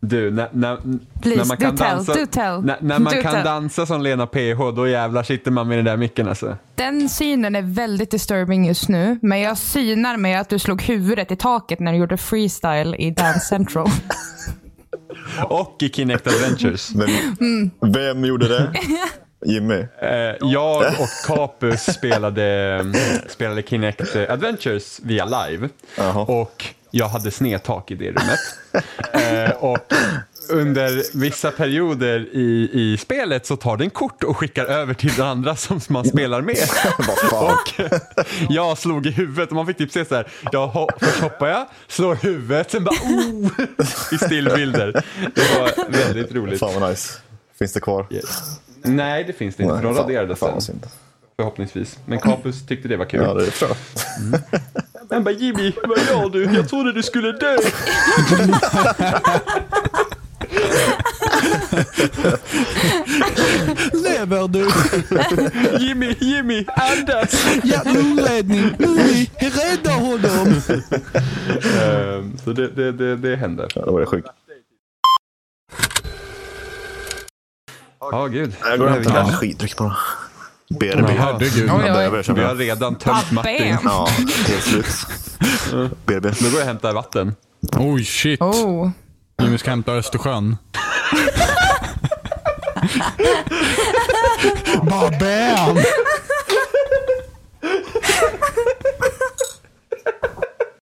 du, när, när,
Please,
när man
do
kan
tell,
dansa,
do tell,
när, när man
do
kan
tell.
dansa som Lena PH, då jävlar sitter man med den där micken alltså.
Den synen är väldigt disturbing just nu, men jag synar med att du slog huvudet i taket när du gjorde freestyle i Dance Central.
Och i Kinect Adventures.
Vem, vem gjorde det? Jimmy?
Eh, jag och Capus spelade, spelade Kinect Adventures via live.
Jaha.
Och jag hade snedtak i det rummet. Eh, och under vissa perioder i, i spelet så tar den kort och skickar över till den andra som man spelar med.
Vad fan?
Och jag slog i huvudet och man fick typ se så här, jag ho- först hoppar jag, slår huvudet, sen bara oh! I stillbilder. Det var väldigt roligt.
Fan vad nice. Finns det kvar?
Nej, det finns det inte, för de
fan-
raderade
fan vad
sen.
synd.
Förhoppningsvis. Men Capus tyckte det var kul.
Ja, det tror jag.
Han bara Jimmy, vad gör du? Jag trodde du skulle dö.
Lever du?
Jimmy, Jimmy, andas.
Hjärtblodledning! Ui, rädda honom!
Ehm, så det, det, det, det hände.
Ja, då var det sjukt.
Ja, gud.
Jag går och hämtar en
Ja.
energidryck bara. BRB.
Jaha.
Herregud.
Oj, oj.
Jag behöver
Vi har
känna.
redan tömt Martin.
Bam.
Ja, helt slut. BRB.
Nu går jag och hämtar vatten.
Oj, shit.
Oh.
Jimmy ska hämta Östersjön. Bara bam!